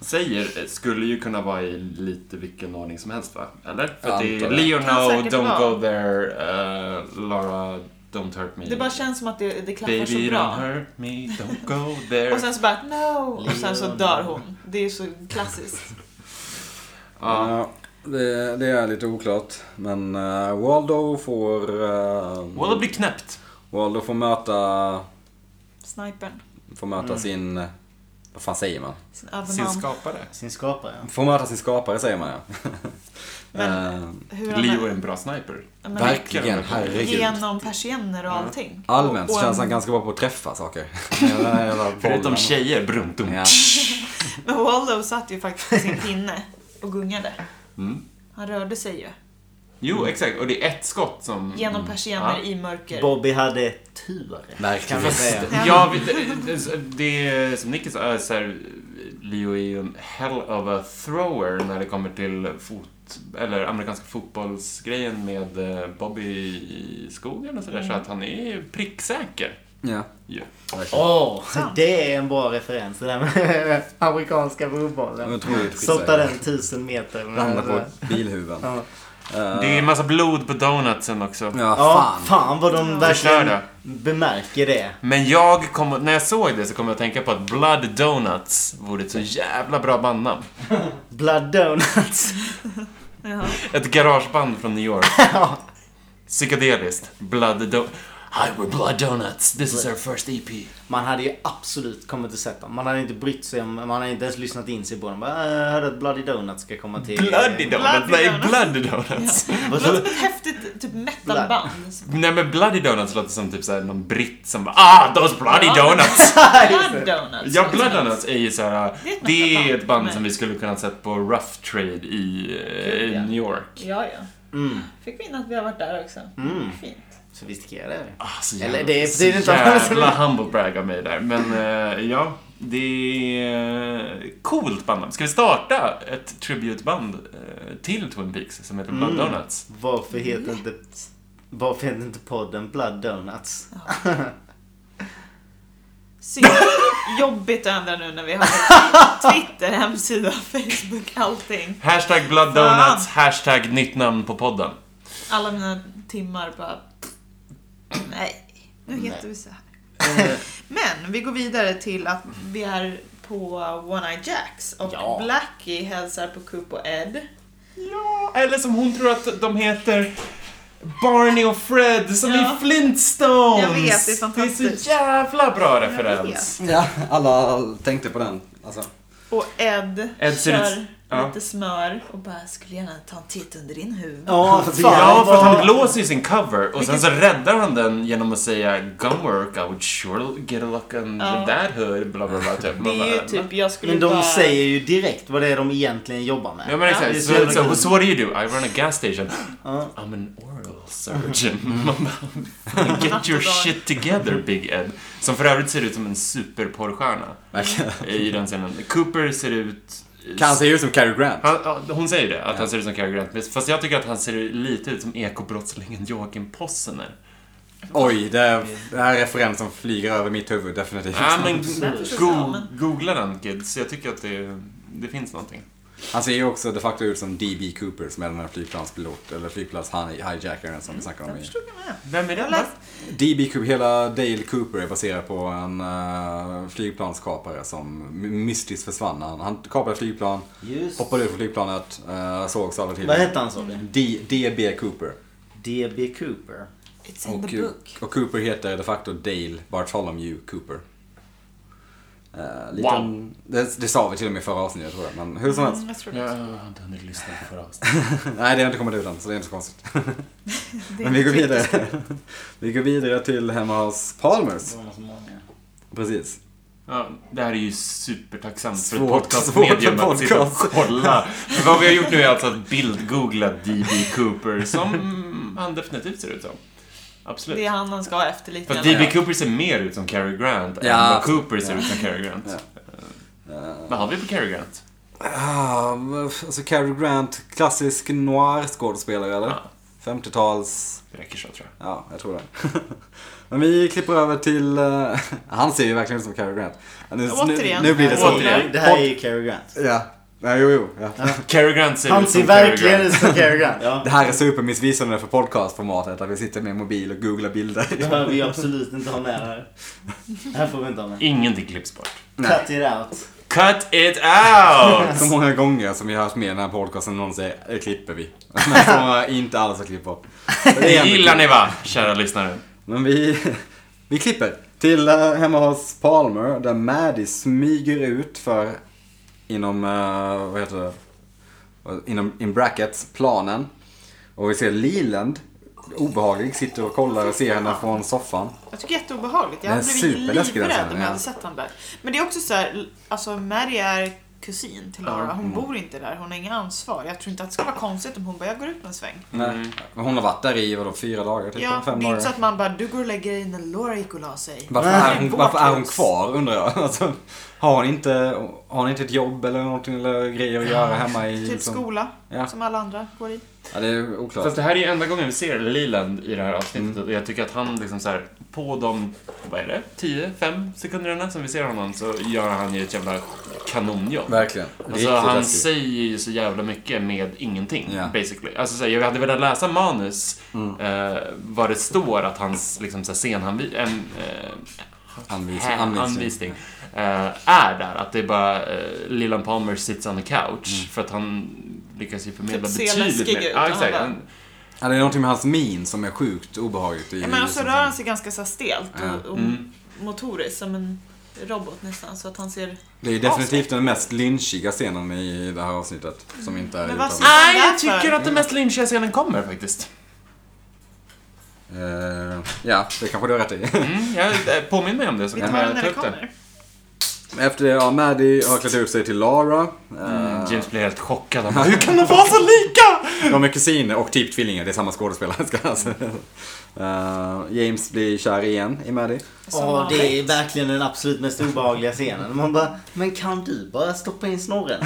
säger eh, skulle ju kunna vara i lite vilken ordning som helst va? Eller? För att det är Antar jag. Leo, Kan no, säkert don't vara. go there, eh, Laura, don't hurt me. det bara känns som att det, det klaffar Baby så bra. don't hurt me, don't go there. Och sen så bara no! Och sen så dör hon. Det är så klassiskt. ja. Ja, det, det är lite oklart. Men eh, Waldo får... eh, Walla blir knäppt. Waldo får möta, Snipern. får möta sin... Vad fan säger man? Sin Sin överman. skapare. Sin skapare ja. Får möta sin skapare säger man ja. Men Eh, hur han Leo är är. en bra sniper. Men, Verkligen, herregud. Genom persienner och allting. Allmänt så och, och en- känns han ganska bra på att träffa saker. Den där jävla bollen. Förutom tjejer, bruntum. Ja. Men Waldo satt ju faktiskt på sin pinne och gungade. Mm. Han rörde sig ju. Jo, exakt. Och det är ett skott som... Genom persienner Mm. Ja. i mörker. Bobby hade tur. Kan Verkligen. vi säga. Ja, vi- det, det är som Nicky sa, så här, Leo är ju en hell of a thrower när det kommer till fot, eller amerikanska fotbollsgrejen med eh, Bobby i skogen och sådär. Så att han är ju pricksäker. Ja. ju. Åh, det är en bra referens. Det där med amerikanska fotbollen. Jag tror det är Sotta den tusen meter. Landar på bilhuven. Ja. Det är en massa blod på donutsen också. Ja, Ja, fan. fan vad de verkligen Förstörda. bemärker det. Men jag kom, när jag såg det så kom jag att tänka på att Blood Donuts vore ett så jävla bra bandnamn. Blood Donuts. Jaha. Ett garageband från New York. Psykedeliskt. Blood Do- Hi, we're Blood Donuts. This is our first E EP. Man hade ju absolut kommit och sett dem. Man hade inte brytt sig om, man hade inte ens lyssnat in sig på dem. Bara, "Äh, jag hörde att Bloody Donuts ska komma till... Eh, Mm. Bloody Donuts? Bloody Nej, Bloody Donuts. Donuts. Det låter som ett häftigt typ metalband. Nej, men Bloody Donuts låter som typ såhär någon britt som bara Ah, those Bloody Ja. Donuts! Blood donuts. Ja, Blood Donuts är ju såhär, Det är ett det är metalband. ett band Nej. som vi skulle kunna sett på Rough Trade i, eh, Gud, ja. New York. Ja, ja. Mm. Fick vi in att vi har varit där också. Mm. Fint. Sofistikerade är vi. Ah, så Eller jävla, det är så precis inte- jävla humble brag av mig där. Men eh, ja, det är eh, coolt bandnamn. Ska vi starta ett tributeband eh, till Twin Peaks som heter Blood Mm. Donuts? Varför heter inte... Varför heter inte podden Blood Donuts? Synd. Jobbigt att ändra nu när vi har Twitter, hemsida, Facebook, allting. Hashtag Blood Fan. Donuts, hashtag nytt namn på podden. Alla mina timmar bara... Nej, nu heter vi så här. Men vi går vidare till att vi är på One Eye Jacks och Ja. Blackie hälsar på Coop och Ed. Ja, eller som hon tror att de heter. Barney och Fred som Ja. i Flintstones! Jag vet, det är fantastiskt. Det är så jävla bra Jag referens. vet. Ja, alla tänkte på den. Alltså. Och Ed, Ed ser kör ut- ja. lite smör och bara skulle gärna ta en titt under din hud. Ja, Ja, för att vad- han blåser ju sin cover och sen så räddar han den genom att säga Gun work, I would sure get a look on Ja. that hood, bla bla bla. Typ. Det Man är ju bara, typ, jag skulle Men de bara... säger ju direkt vad det är de egentligen jobbar med. Ja men Ja, det är exakt. så Så, jävla så, kul. so what do you do? I run a gas station. Ja. I'm an oral surgeon. Man bara, Get your shit together Big Ed. Som för övrigt ser ut som en superporrstjärna Verkligen. i den scenen. Cooper ser ut... Kan se ut som Cary Grant. Han, ja, hon säger det, att han ser ut som Cary Grant. Fast jag tycker att han ser lite ut som ekobrottslingen Joakim Possener. Oj, det är, det här är referensen som flyger över mitt huvud definitivt. Ja, men Därför så go sa man. googla den kids. Jag tycker att det, det finns någonting. Han ser ju också de facto ut som D.B. Cooper som är den här flygplanspilot, eller flygplans-hijackaren som vi snackade om. Jag i- förstod jag med. Vem är Jag har det? läst D.B. Cooper, hela Dale Cooper är baserad på en uh, flygplanskapare som mystiskt försvann. Han, han kapade flygplan, Just. hoppade ut från flygplanet, uh, sågs aldrig till. Vad hette han sa vi? D- D.B. Cooper. D.B. Cooper. It's in Och, the book. och Cooper heter de facto Dale Bartholomew Cooper. Eh, lite Wow. om- det, det sa vi till och med i förra avsnittet tror jag, men hur som helst. Mm, jag tror det. Jag har inte hunnit lyssna på förra Nej, det har inte kommit ut än, så det är inte så konstigt. Mm. Det är Men vi går inte riktigt- vidare. vi går vidare till hemma hos Palmers. Mm. Det var så många. Precis. Ja, det här är ju supertacksamt för ett Svårt- podcastmedium svårt att sitta och podcast. kolla. Men vad vi har gjort nu är alltså att bildgoogla D.B. Cooper, som han definitivt ser ut som. Det Absolut. är han han ska ha efter lite Fast grann. D.B. Cooper ser mer ut som Cary Grant Ja. än vad Cooper ser Ja. ut som Cary Grant. Eh, Vad har vi på Cary Grant? Ah, alltså Cary Grant, klassisk noir-skådespelare eller? Ja. 50-tals... Det räcker så, tror jag. Ja, jag tror det. Men vi klipper över till... eh, han ser ju verkligen ut som Cary Grant. Nu, Återigen. Nu, nu blir det så. Återigen. Det här är ju Cary Grant. Ja. ja, jo, jo. Ja. Cary Grant ser Han ut som ser Cary verkligen Grant. ut som Cary Grant. Ja. Det här är supermissvisande för podcastformatet, att vi sitter med mobil och googlar Det bilder. behöver vi absolut inte ha med här. Det här får vi inte ha med. Ingenting klipps bort. Nej. Cut it out. Cut it out! Så många gånger som vi har haft med i den här podcasten någon säger det klipper vi. Men som inte alls har klippt bort. Det gillar ni va, kära lyssnare? Men vi, vi klipper till eh, hemma hos Palmer där Maddie smyger ut för inom, eh, vad heter det, Eh, inom in brackets, planen. Och vi ser Leland, obehaglig, sitter och kollar och ser henne från soffan. Jag tycker det är jätteobehagligt. Jag Den hade är blivit superläskig, den livrädd scenen, om jag ja. hade sett honom där. Men det är också så här, alltså Mary är kusin till Laura. mm. Hon bor inte där. Hon har inga ansvar. Jag tror inte att det skulle vara konstigt om hon bara, jag går ut en sväng. Nej. Hon har varit där i vadå, fyra dagar, typ, Ja, det fem är inte så dagar. att man bara, du går och lägger dig när Laura gick och la sig. Varför Nej. är, hon, varför är hon Vårt hus. kvar undrar jag? Alltså, har, hon inte, har hon inte ett jobb eller någonting eller grejer att göra hemma i... Typ som- skola, liksom- Ja. som alla andra går i. Ja, det är oklart. Fast det här är ju enda gången vi ser Leland i det här avsnittet och jag tycker att han liksom så här, på de, vad är det, 10, 5 sekunderna som vi ser honom så gör han ju ett jävla kanonjobb. Verkligen. Alltså han säger ju så jävla mycket med ingenting, Ja. basically. Alltså så här, jag hade velat läsa manus Mm. eh, vad det står att hans liksom så här, scenanvi- en, eh, Anvisning. hä- Anvisning. anvisning eh, är där. Att det är bara eh, Leland Palmer sits on the couch för att han lyckas ju förmedla Typ ser betydligt läskig mer. ut, Ja, han exakt. bara- "Mm." Han- Ja, det är någonting med hans min som är sjukt obehagligt. I, Ja, men alltså och så liksom som- rör han sig ganska så här stelt och, Ja. och Mm. motoriskt som en robot nästan. Så att han ser... det är definitivt den mest lynchiga scenen i det här avsnittet. Som inte är Men vad gjort sa- Nej, jag Därför. tycker att den mest lynchiga scenen kommer faktiskt. av- Eh, Ja, det kanske du har rätt i. Mm, jag, eh, påminn mig om det så Vi kan tar den jag när ta det upp den. kommer. Efter det, ja, Maddie har klätt ut sig till Lara. Eh, Mm, James blir helt chockad. Han bara, Hur kan de vara så lika? De är kusiner och typ tvillingar, det är samma skådespelare. Ska jag säga. Eh, James blir kär igen i Maddie. Som Ja, det är vanligt. verkligen den absolut mest obehagliga scenen. Man bara, men kan du bara stoppa in snorren?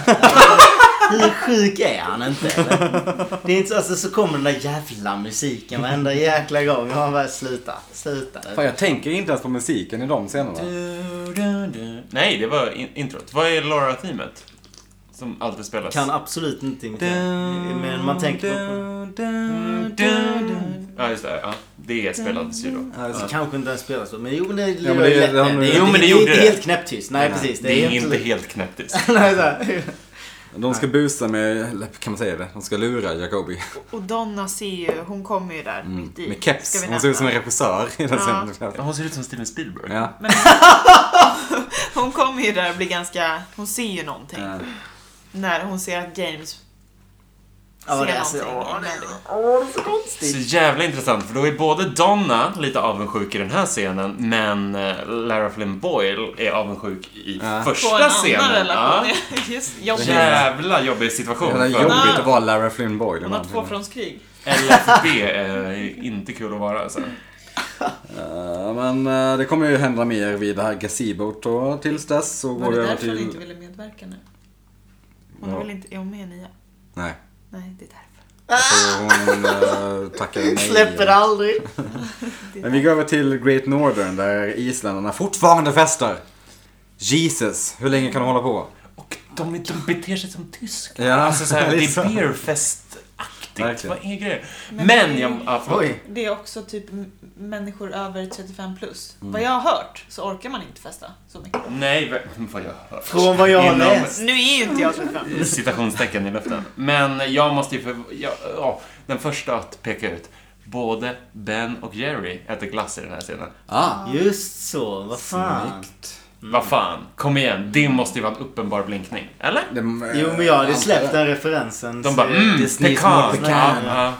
Hur sjuk är han inte eller? Det är inte så, alltså, så kommer den där jävla musiken varenda jäkla gång. Och man bara, sluta, sluta. Fan, jag tänker inte ens på musiken i de scenerna. Du, du, du. Nej, det var in- introt. Vad är Laura-teamet? Som alltid spelas. Kan absolut inte imitera. Men man tänker på Ja, just det. Ja. Det spelades ju då. Ja, just Alltså, det. kanske inte ens spelas så, men jo men det men det- lätt. det har nog- är Jo, inte- men det är gjorde inte det. helt knäpptyst. Nej, Nej, precis. Det, Det är helt- inte helt knäpptyst. Nej, så här. De ska busa med, eller kan man säga det? De ska lura Jacobi. Och Donna ser ju, hon kommer ju där mitt i. Mm. Med Ska keps. vi Hon ser ut som en nämna. regissör i den Ja. scenen. Hon ser ut som Steven Spielberg. Ja. Hon kommer ju där och blir ganska, hon ser ju någonting. Ja. När hon ser att James Ja, ser det är så- någonting. ja, i Melody. Så jävla intressant, för då är både Donna lite avundsjuk i den här scenen, men eh, Lara Flynn Boyle är avundsjuk i Ja. På första en scenen. annan relation. Ja. Just jobbigt. Jävla jobbig situation. Det är för- jobbigt att vara Lara Flynn Boyle. Hon har tvåfrontskrig. LFB är inte kul att vara. Så. Eh, men eh, det kommer ju hända mer vid det här gazebot då. Tills dess så går Var det vi över därför hon inte till... ville medverka nu? Hon Ja. är väl inte, är hon med i nya? Nej. Nej, det är därför. Så hon eh, tackar nej. Släpper aldrig. Det är Men vi därför. går över till Great Northern där isländarna fortfarande festar. Jesus, hur länge kan de hålla på? Och de, de beter sig som tyskar. Ja, alltså så här, det liksom. är beerfest-aktigt. Verkligen. Vad är grejen? Men- Men jag... Ja, förlåt. Oj. Det är också typ m- människor över 35 plus. Vad jag har hört så orkar man inte festa så mycket. Nej, vad- vad jag hör. Från vad jag har Inom- läst. Nu är ju inte jag 35. citationstecken i luften. Men jag måste ju för... Jag, ja, den första att peka ut. Både Ben och Jerry äter glass i den här scenen. Ah, Just så, vad fan. snyggt. Mm. Vad fan, kom igen. Det måste ju vara en uppenbar blinkning. Eller? Det, Jo men jag hade släppt den referensen. De så- bara mm, Disney pekan. smakar Ja, pekan. ja.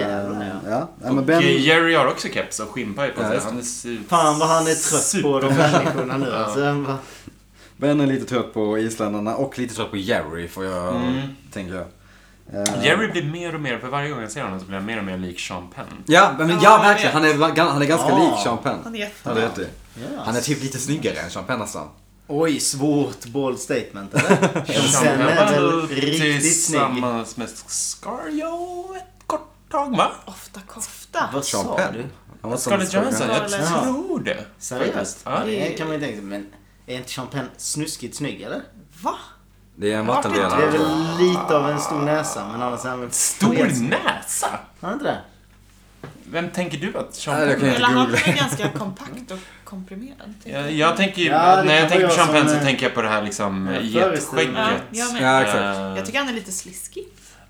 Jävlar ja. Ja, ja men Och Ben... Jerry har också keps och skinnpaj på sig. just Han är su- Fan vad han är trött på de människorna nu Ja. alltså. Han bara, Ben är lite trött på isländarna och lite trött på Jerry får jag Mm. tänka. Eh, Jerry blir mer och mer, för varje gång jag ser honom så blir han mer och mer lik Sean Penn. Ja, men, Ja, ja jag verkligen. Han är, ga- han är ganska Ja. lik Sean Penn. Han är Ja, det jättebra. vet du. yes. Han är typ lite snyggare än Sean Penn nästan. Oj, svårt bold statement eller? Men Sean sen Penn är var väl väl riktigt snygg. tillsammans med Scario ett kort tag, va? Ofta kofta. Vad Sean sa Penn. du? Han var som Scarlett Johansson, jag Scarlett. Ja. tror det. Seriöst? Ja. Det kan man ju tänka sig. Men är inte Sean Penn snuskigt snygg eller? Va? Det är en Det är vattendelare. väl lite av en stor näsa men annars är han väl... Stor näsa? Har han inte det? Vem tänker du att Sean Nej, det Penn kan jag Eller inte han googla. är ganska kompakt och komprimerad. tänker jag, jag tänker ju, Ja, det när kan jag tänker vara på jag Sean Penn som, så eh, tänker jag på det här liksom jag eh, föreställer getskägget. mig. Ja, jag med. Ja, exakt. Eh, Jag tycker han är lite sliskig.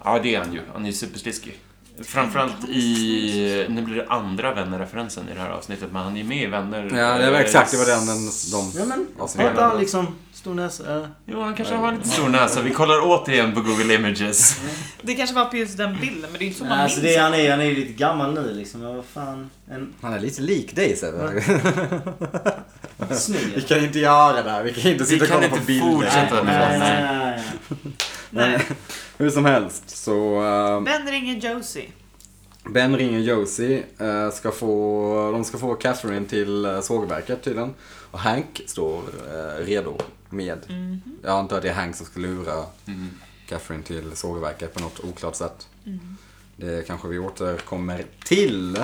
Ja, det är han ju. Han är ju supersliskig. Framförallt i... Nu blir det andra Vänner-referensen i det här avsnittet, men han är ju med i Vänner. Ja, det var exakt. Det var den, den Ja men, de har inte han avsnittet. liksom stor näsa? eller? Jo, han kanske har en lite stor näsa. Vi kollar återigen på Google Images. Det kanske var på just den bilden, men det är ju inte så man Nej, alltså minns. det är, han är han är ju lite gammal nu liksom. Men vad fan. En Han är lite lik dig Sebbe. snygg. kan inte göra det här. Vi kan inte Vi kan inte fortsätta nej, med nej, det. nej. Nej. Hur som helst så eh, Ben ringer Josie. Ben ringer Josie. eh, ska få, de ska få Catherine till eh, sågverket tydligen. Och Hank står eh, redo med. Jag antar att det är Hank som ska lura Mhm. Catherine till sågverket på något oklart sätt. Det kanske vi återkommer till.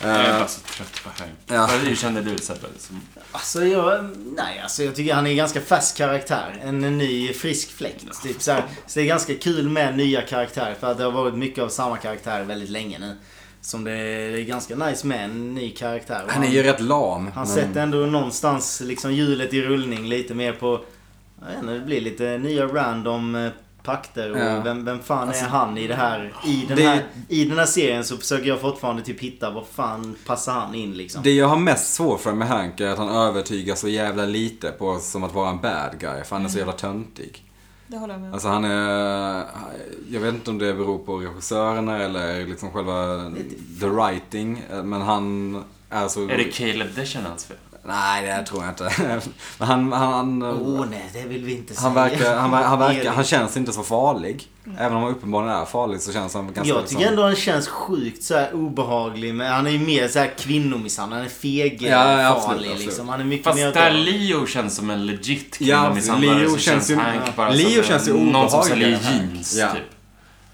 Jag är Eh, bara så trött på Hank. Ja. Hur känner du Sebbe? Som- Alltså jag, nej alltså jag tycker han är en ganska färsk karaktär. En ny frisk fläkt. Typ så, här. så det är ganska kul med nya karaktärer. För att det har varit mycket av samma karaktär väldigt länge nu. Som det är, det är ganska nice med en ny karaktär. Och han är ju rätt lam. han men- sätter ändå någonstans liksom hjulet i rullning lite mer på... Jag vet inte, det blir lite nya random eh, pakter och Ja. Alltså, vem, vem fan är han i det här? I den, Det- här? I den här serien så försöker jag fortfarande typ hitta vad fan passar han in liksom. Det jag har mest svårt för med Hank är att han övertygar så jävla lite på som att vara en bad guy. För han är så jävla töntig. Det håller jag med om. Alltså han är... Jag vet inte om det beror på regissörerna eller liksom själva the writing. Men han är så... Är det Caleb Deschanels fel? Nej, det tror jag inte. Men han... han, Åh han nej, det vill vi inte säga. han verkar, han, ver- han, verkar, Erik. han känns inte så farlig. Även om han uppenbarligen är farlig så känns han ganska liksom- Jag tycker ändå han känns sjukt så här obehaglig. Men han är ju mer så här kvinnomisshandel. Han är feg Ja, ja, absolut, farlig absolut. liksom. Han är mycket mer... Fast åt där det- Leo känns som en legit Ja, kvinnomisshandlare Leo så känns känns ju- Hank bara Leo som en- känns ju någon som obehagligare säljer än Hank. jeans Ja. typ.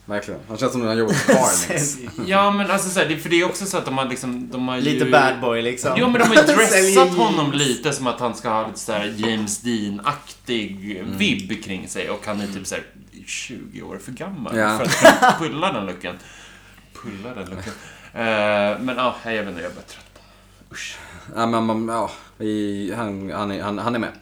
Verkligen. Han känns som om han jobbar på Barnix. Ja men alltså så här, det, för det är också så att de har liksom, de har Lite ju... bad boy liksom. Jo men de har ju Säljer dressat jeans. honom lite som att han ska ha lite såhär James Dean-aktig Mm. vibb kring sig och han är typ såhär 20 år för gammal Ja. för att kunna pulla den looken. Pulla den looken. Eh, men ja, jag vet inte, jag är bara trött på honom. Usch. Ja, men, men, ja, i, han, han, är- han, han är med.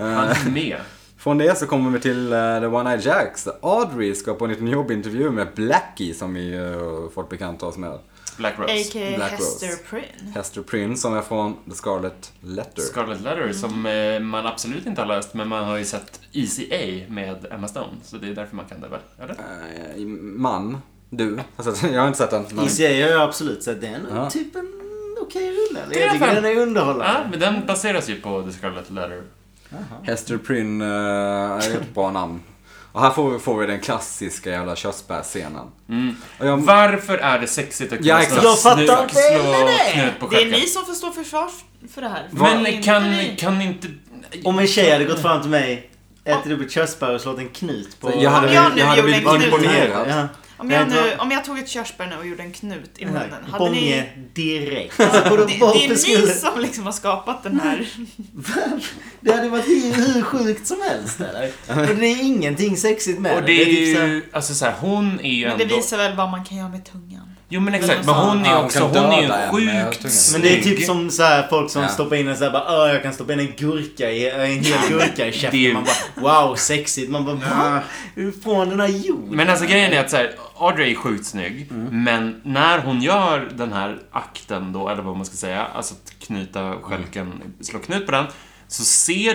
Eh, Han är med. Från det så kommer vi till eh, The One Eye Jacks. Audrey ska på en liten jobbintervju med Blackie som vi uh, fått bekanta oss med. Black Alltså, Rose. A.k.a. Black Hester Rose. Prynne. Hester Prynne som är från The Scarlet Letter. Scarlet Letter som eh, man absolut inte har läst men man har ju sett Easy A med Emma Stone så det är därför man kan det väl? Eller? Eh, man. Du. Alltså, jag har inte sett den. Men... Easy A har jag absolut sett. Det är en, Ja. typ en okej rulle. eller? Det är Jag tycker fan- den är Ja, underhållande. men den baseras ju på The Scarlet Letter. Hester Prynne eh, är ett bra namn. Och här får vi, får vi den klassiska jävla körsbärsscenen. Mm. Och jag- Varför är det sexigt att kunna Ja, slå, exakt. Jag fattar snu- inte slå heller det. knut på Det är stjärten? ni som får stå försvar för det här. Men Inte kan, vi. kan inte... Om en tjej hade gått fram till mig, ätit upp ett körsbär och slått en knut på... jag hade, Om jag blivit- nu jag hade gjorde blivit en knut här. imponerad. Ja. Om jag, Nej, det nu, var- om jag tog ett körsbär nu och gjorde en knut i munnen, hade ni... Bånge direkt. Alltså, Det, vadå, det är varför ni skulle... som liksom har skapat den här... Det hade varit hur, hur sjukt som helst eller? Och det är ingenting sexigt med Och det är typ så här- ju, alltså så här, hon är ju Men det ändå... visar väl vad man kan göra med tungan. Jo men exakt, men Ja, hon är hon också, kan hon är ju döda en med sjukt tungan. Men det är snygg. typ som så här, folk som Ja. stoppar in en så här, bara, "Åh, jag kan stoppa in en gurka i, en hel gurka i Det är ju- käften. Man bara wow sexigt. Man bara va? Hur Från den här jorden? Men alltså grejen är att så här, Audrey är sjukt snygg, Mm. men när hon gör den här akten då, eller vad man ska säga, alltså att knyta stjälken, slå knut på den, så ser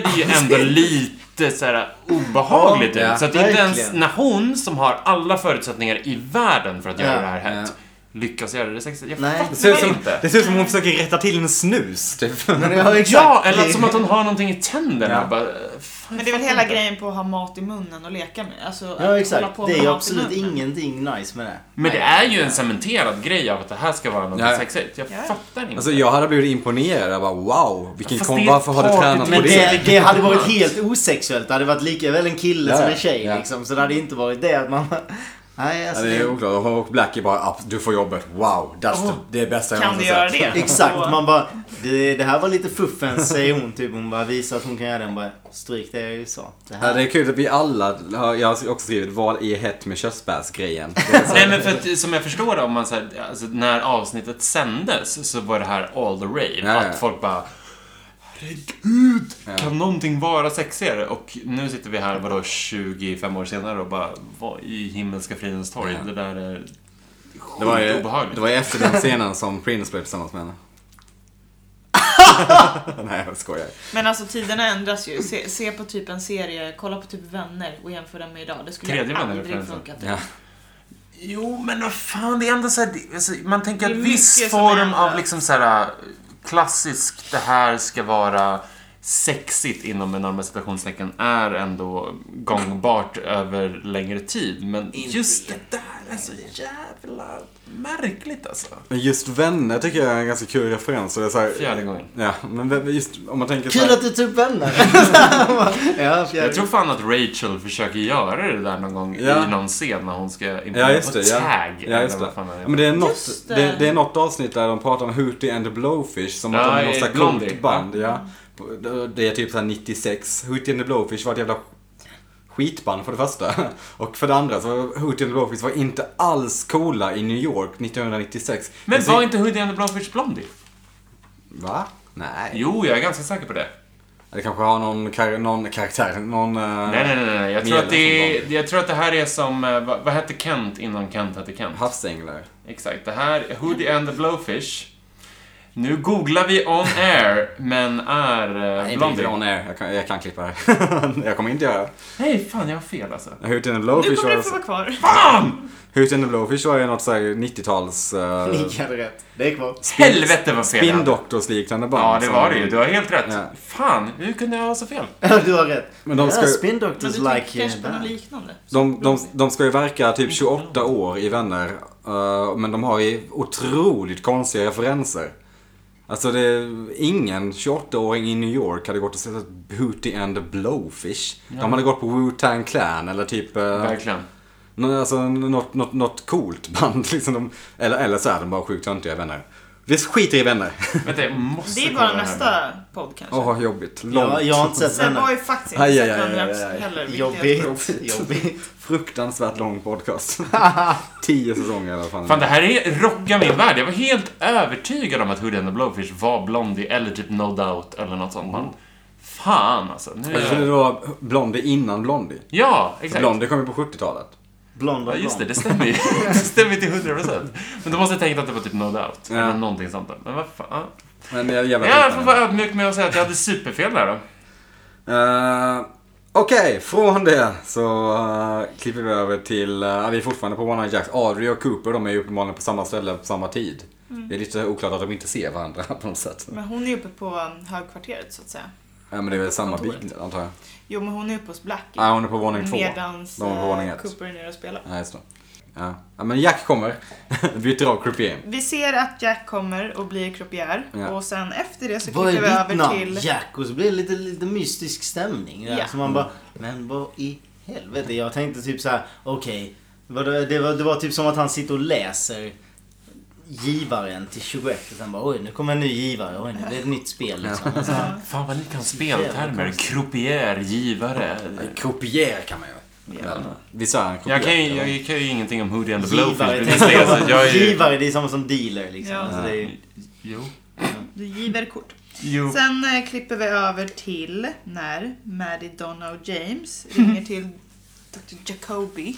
det ju ändå lite så här obehagligt Ja, ja, ut. Så att det är inte ens verkligen. när hon, som har alla förutsättningar i världen för att göra Ja, det här hett, lyckas göra det sexigt. Jag Nej. Det ser, ut fattar som, inte. det ser ut som hon försöker rätta till en snus, typ. Men jag har exakt- Ja, eller som att hon har någonting i tänderna. Ja. Bara, fan, Men det är väl jag hela fattar inte. grejen på att ha mat i munnen och leka med. Alltså, att Ja hålla exakt. på Det med är ju mat i absolut munnen. ingenting nice med det. Men det är ju en cementerad grej av att det här ska vara något Ja, ja. sexigt. Jag Ja, ja. fattar inte. Alltså jag hade blivit imponerad. Jag bara wow, vilken Fast kom, det är varför har du party- tränat Alltså, på Men Men det? det, det hade varit helt osexuellt. Det hade varit lika väl en kille Ja, som ja. en tjej Ja. liksom. Så det hade inte varit det att man... Nej Ja, alltså. det är det- oklart. Och Blackie bara up, du får jobbet. Wow, that's the, det är bästa jag Kan du någonsin göra sett. det? Exakt, Och- man bara det, det här var lite fuffens säger hon typ. Hon bara visar att hon kan göra det. Hon bara stryk det jag ju sa. Det Ja, det här. är kul att vi alla, har- jag har också skrivit, vad är hett med körsbärsgrejen? Det är så- Nej men för att, som jag förstår det, om man så här, alltså, när avsnittet sändes så var det här all the rave. Ja, ja. Att folk bara Herregud! Kan någonting vara sexigare? Och nu sitter vi här, vadå, 25 år senare och bara Vad i himmelska fridens torg? Ja. Det där är det var ju, sjukt obehagligt. det var ju efter den scenen som Prince blev tillsammans med henne. Nej jag skojar. Men alltså tiderna ändras ju. Se, se på typ en serie, kolla på typ Vänner och jämför den med idag. Det skulle Tredje Vänner är aldrig referensen. funka. typ. Ja. Jo, men vad fan, det är ändå så här, det- alltså, man tänker Det att är viss mycket som form händer. av liksom så här äh, klassiskt, det här ska vara sexigt inom enorma citationstecken är ändå gångbart över längre tid. Men just det där är så jävla märkligt alltså. Men just vänner tycker jag är en ganska kul referens. Och det är så här, Fjärde gången. ja, men vem- just om man tänker så Kul här, att du tog upp vänner. ja, Jag tror fan att Rachel försöker göra det där någon gång Ja. i någon scen när hon ska Ja just det. på Ja. tag. Ja, just eller det. vad fan är Ja, men det, är något, Just det. det. Det, är något avsnitt där de pratar om Hootie and the Blowfish som att Ja, de är någon i slags Blondie. coolt band. Ja. Det är typ såhär 96. Hootie and the Blowfish var ett jävla skitband för det första. Och för det andra så var Hootie and the Blowfish var inte alls coola i New York 1996. Men Det är- var inte Hoodie and the Blowfish Blondie? Va? Nej. Jo, jag är ganska säker på det. Det kanske har någon, kar- någon karaktär, någon... Nej, eh, nej, nej, nej. Jag tror, Mjöl att det som är, jag tror att det här är som, eh, vad, vad hette Kent innan Kent hette Kent? Havsänglar. Exakt. Det här är Hoodie and the Blowfish. Nu googlar vi on air, men är eh, Nej, Blondie. inte on air. Jag kan, jag kan klippa det Jag kommer inte göra det. Nej, fan jag har fel alltså. Hootie and the Nu Blowfish kommer var det få vara kvar. Fan! Hootie and the Blowfish var ju något såhär 90-tals... eh, Ni hade rätt. Det är kvar. Helvete vad fel jag hade. Spindoktors-liknande band. Ja, det som- var det ju. Du har helt rätt. liksom. Ja. Fan, hur kunde jag ha så fel? Du har rätt. Men de ska- ja, spin Men doctors du tänker like kanske på eh, något liknande? De, de, de ska ju verka typ 28 år i Vänner. eh, men de har ju otroligt konstiga referenser. Alltså det är ingen 28-åring i New York hade gått och sett ett Hootie and the Blowfish. De hade gått på Wu-Tang Clan eller typ... Uh, Verkligen. alltså, något, något, något coolt band liksom. De, eller, eller så är de bara sjukt töntiga i Vänner. Det skiter i Vänner. Vänta, jag måste Det är kolla bara det här. nästa podd kanske. Åh, jobbigt. Långt. Ja, jag har inte sett Sen var vänner. ju faktiskt Aj, inte aj, sett aj, Vänner aj, aj. heller. vilket jag- Jobbigt. Jobbigt. Fruktansvärt lång podcast. Tio säsonger i alla fall. Fan, det här är rocka min värld. Jag var helt övertygad om att Hoodie and the Blowfish var Blondie eller typ No Doubt eller något sånt Mm. band. Fan alltså. Nu Jag trodde är... det var Blondie innan Blondie. Ja, exakt. Blondie kom ju på 70-talet. Blond Ja, och just det. blond. Det stämmer ju. Det stämmer till 100 procent. Men då måste jag tänkt att det var typ No Doubt. Ja. Eller någonting sånt där. Men vad fan. ja. Men jag, jag vet Ja, jag inte. får vara ödmjuk med att säga att jag hade superfel där då. Eh, Okej, från det så eh, klipper vi över till, eh, vi är fortfarande på One Night Jacks. Audrey och Cooper de är ju uppenbarligen på samma ställe på samma tid. Det är lite oklart att de inte ser varandra på något sätt. Men hon är ju uppe på um, högkvarteret så att säga. Ja, men det är väl samma Kontoret. byggnad antar jag. Jo men hon är uppe hos Blackie. Nej, hon är på våning två. Medans De är på våning eh, ett. Cooper är nere och spelar. Ja, just det. Ja. ja, men Jack kommer. Byter av croupier. Vi ser att Jack kommer och blir croupier. Ja. Och sen efter det så Vad är klipper vi över ditt namn? till... Jack. Och så blir det lite, lite mystisk stämning. där. Ja. Så man bara, men vad i helvete. Jag tänkte typ så här: okej. Det var, det, var, det var typ som att han sitter och läser givaren till 21 och sen bara oj nu kommer en ny givare, oj nu blir det ett nytt spel liksom. Och så, Fan vad ni kan speltermer. Croupier, givare. Kopier Eh, kan man ju. Visst är han kopier? Jag kan ju, jag kan ju ingenting om Hoodie and the Blowfish givare, bevisligen. så jag är ju... givare, det är samma som dealer liksom. Ja. Alltså, det är, ju- Jo. Du giver kort. Jo. Sen eh, klipper vi över till när Maddie, Donna och James ringer till Dr. Jacoby.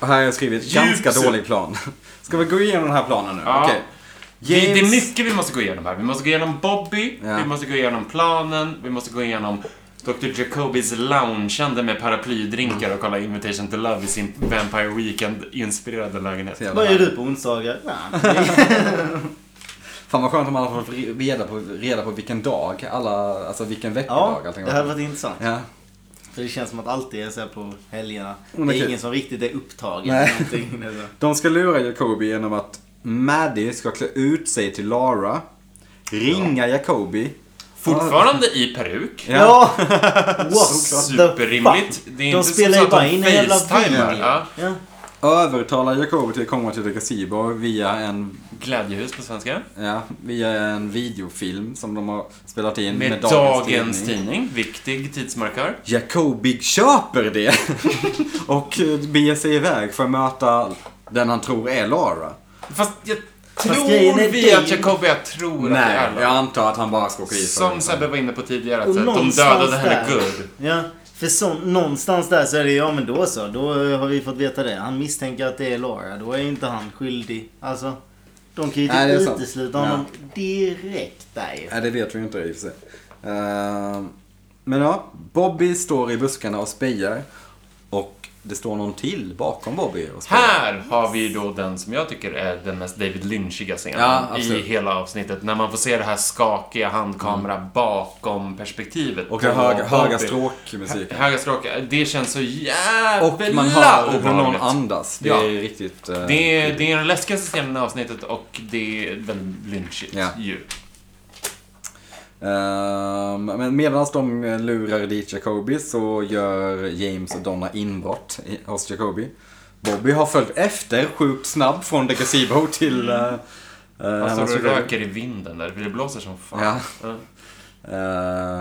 Och här har jag skrivit Djup ganska syn. dålig plan. Ska vi gå igenom den här planen nu? Ja. Okej. Det, det är James- mycket vi måste gå igenom här. Vi måste gå igenom Bobby, Ja. vi måste gå igenom planen, vi måste gå igenom Dr. Jacobys loungeande med paraplydrinkar och kolla Invitation to Love i sin Vampire Weekend-inspirerade lägenhet. Så jävla Vad gör härligt. du på onsdagar? Ja, Fan vad skönt om alla får reda på, reda på vilken dag, alla, alltså vilken veckodag ja allting det hade varit intressant. Ja. För det känns som att allt är så här på helgerna. men Det är kul. ingen som riktigt är upptagen. Nej. eller någonting. Det är så. De ska lura Jacobi genom att Maddie ska klä ut sig till Lara, ringa Jacobi. Fortfarande i peruk. Ja! What Superrimligt. Det är De inte spelar så ju att bara de in en jävla facetimar. video. Ja. Ja. Övertalar Jacobi till att komma till The Gazebo via en, Glädjehus på svenska. ja, via en videofilm som de har spelat in med, Med, dagens, tidning. Viktig tidsmarkör. Jacobi köper det och eh, beger sig iväg för att möta den han tror är Lara. Fast jag grejen är tror vi det- att Jacobi, jag tror att det Nej, är jag Lara. antar att han bara ska åka dit för Som det. Sebbe var inne på tidigare, Och att så här, Alltså, de någonstans dödade henne där. good. Ja, för så, någonstans där så är det ja men då så. Då eh, har vi fått veta det. Han misstänker att det är Laura. Då är inte han skyldig. Alltså, de kan ju Nej, det är typ sant. utesluta Ja. honom direkt där ju. Nej, det vet vi ju inte i och för sig. Ehm, men ja, Bobby står i buskarna och spejar. Och det står någon till bakom Bobby och spejar. Här har vi då den som jag tycker är den mest David Lynchiga scenen Ja, i absolut. hela avsnittet. När man får se det här skakiga handkamera bakom perspektivet. Mm. Och den på höga, höga Bobby. stråkmusiken. Höga stråk. Det känns så jävla Och man hör hur någon obehagligt. andas. Det Ja. är riktigt... eh, Det är, det är den läskigaste scenen i avsnittet och det är väldigt lynchigt Ja. ju. Ehm, men medan de lurar dit Jacobi så gör James och Donna inbrott i- hos Jacobi. Bobby har följt efter sjukt snabb från The Gazebo till... eh, eh, Han hans står och Jacobi. Alltså, röker i vinden där, för det blåser som fan. Ja. Ja.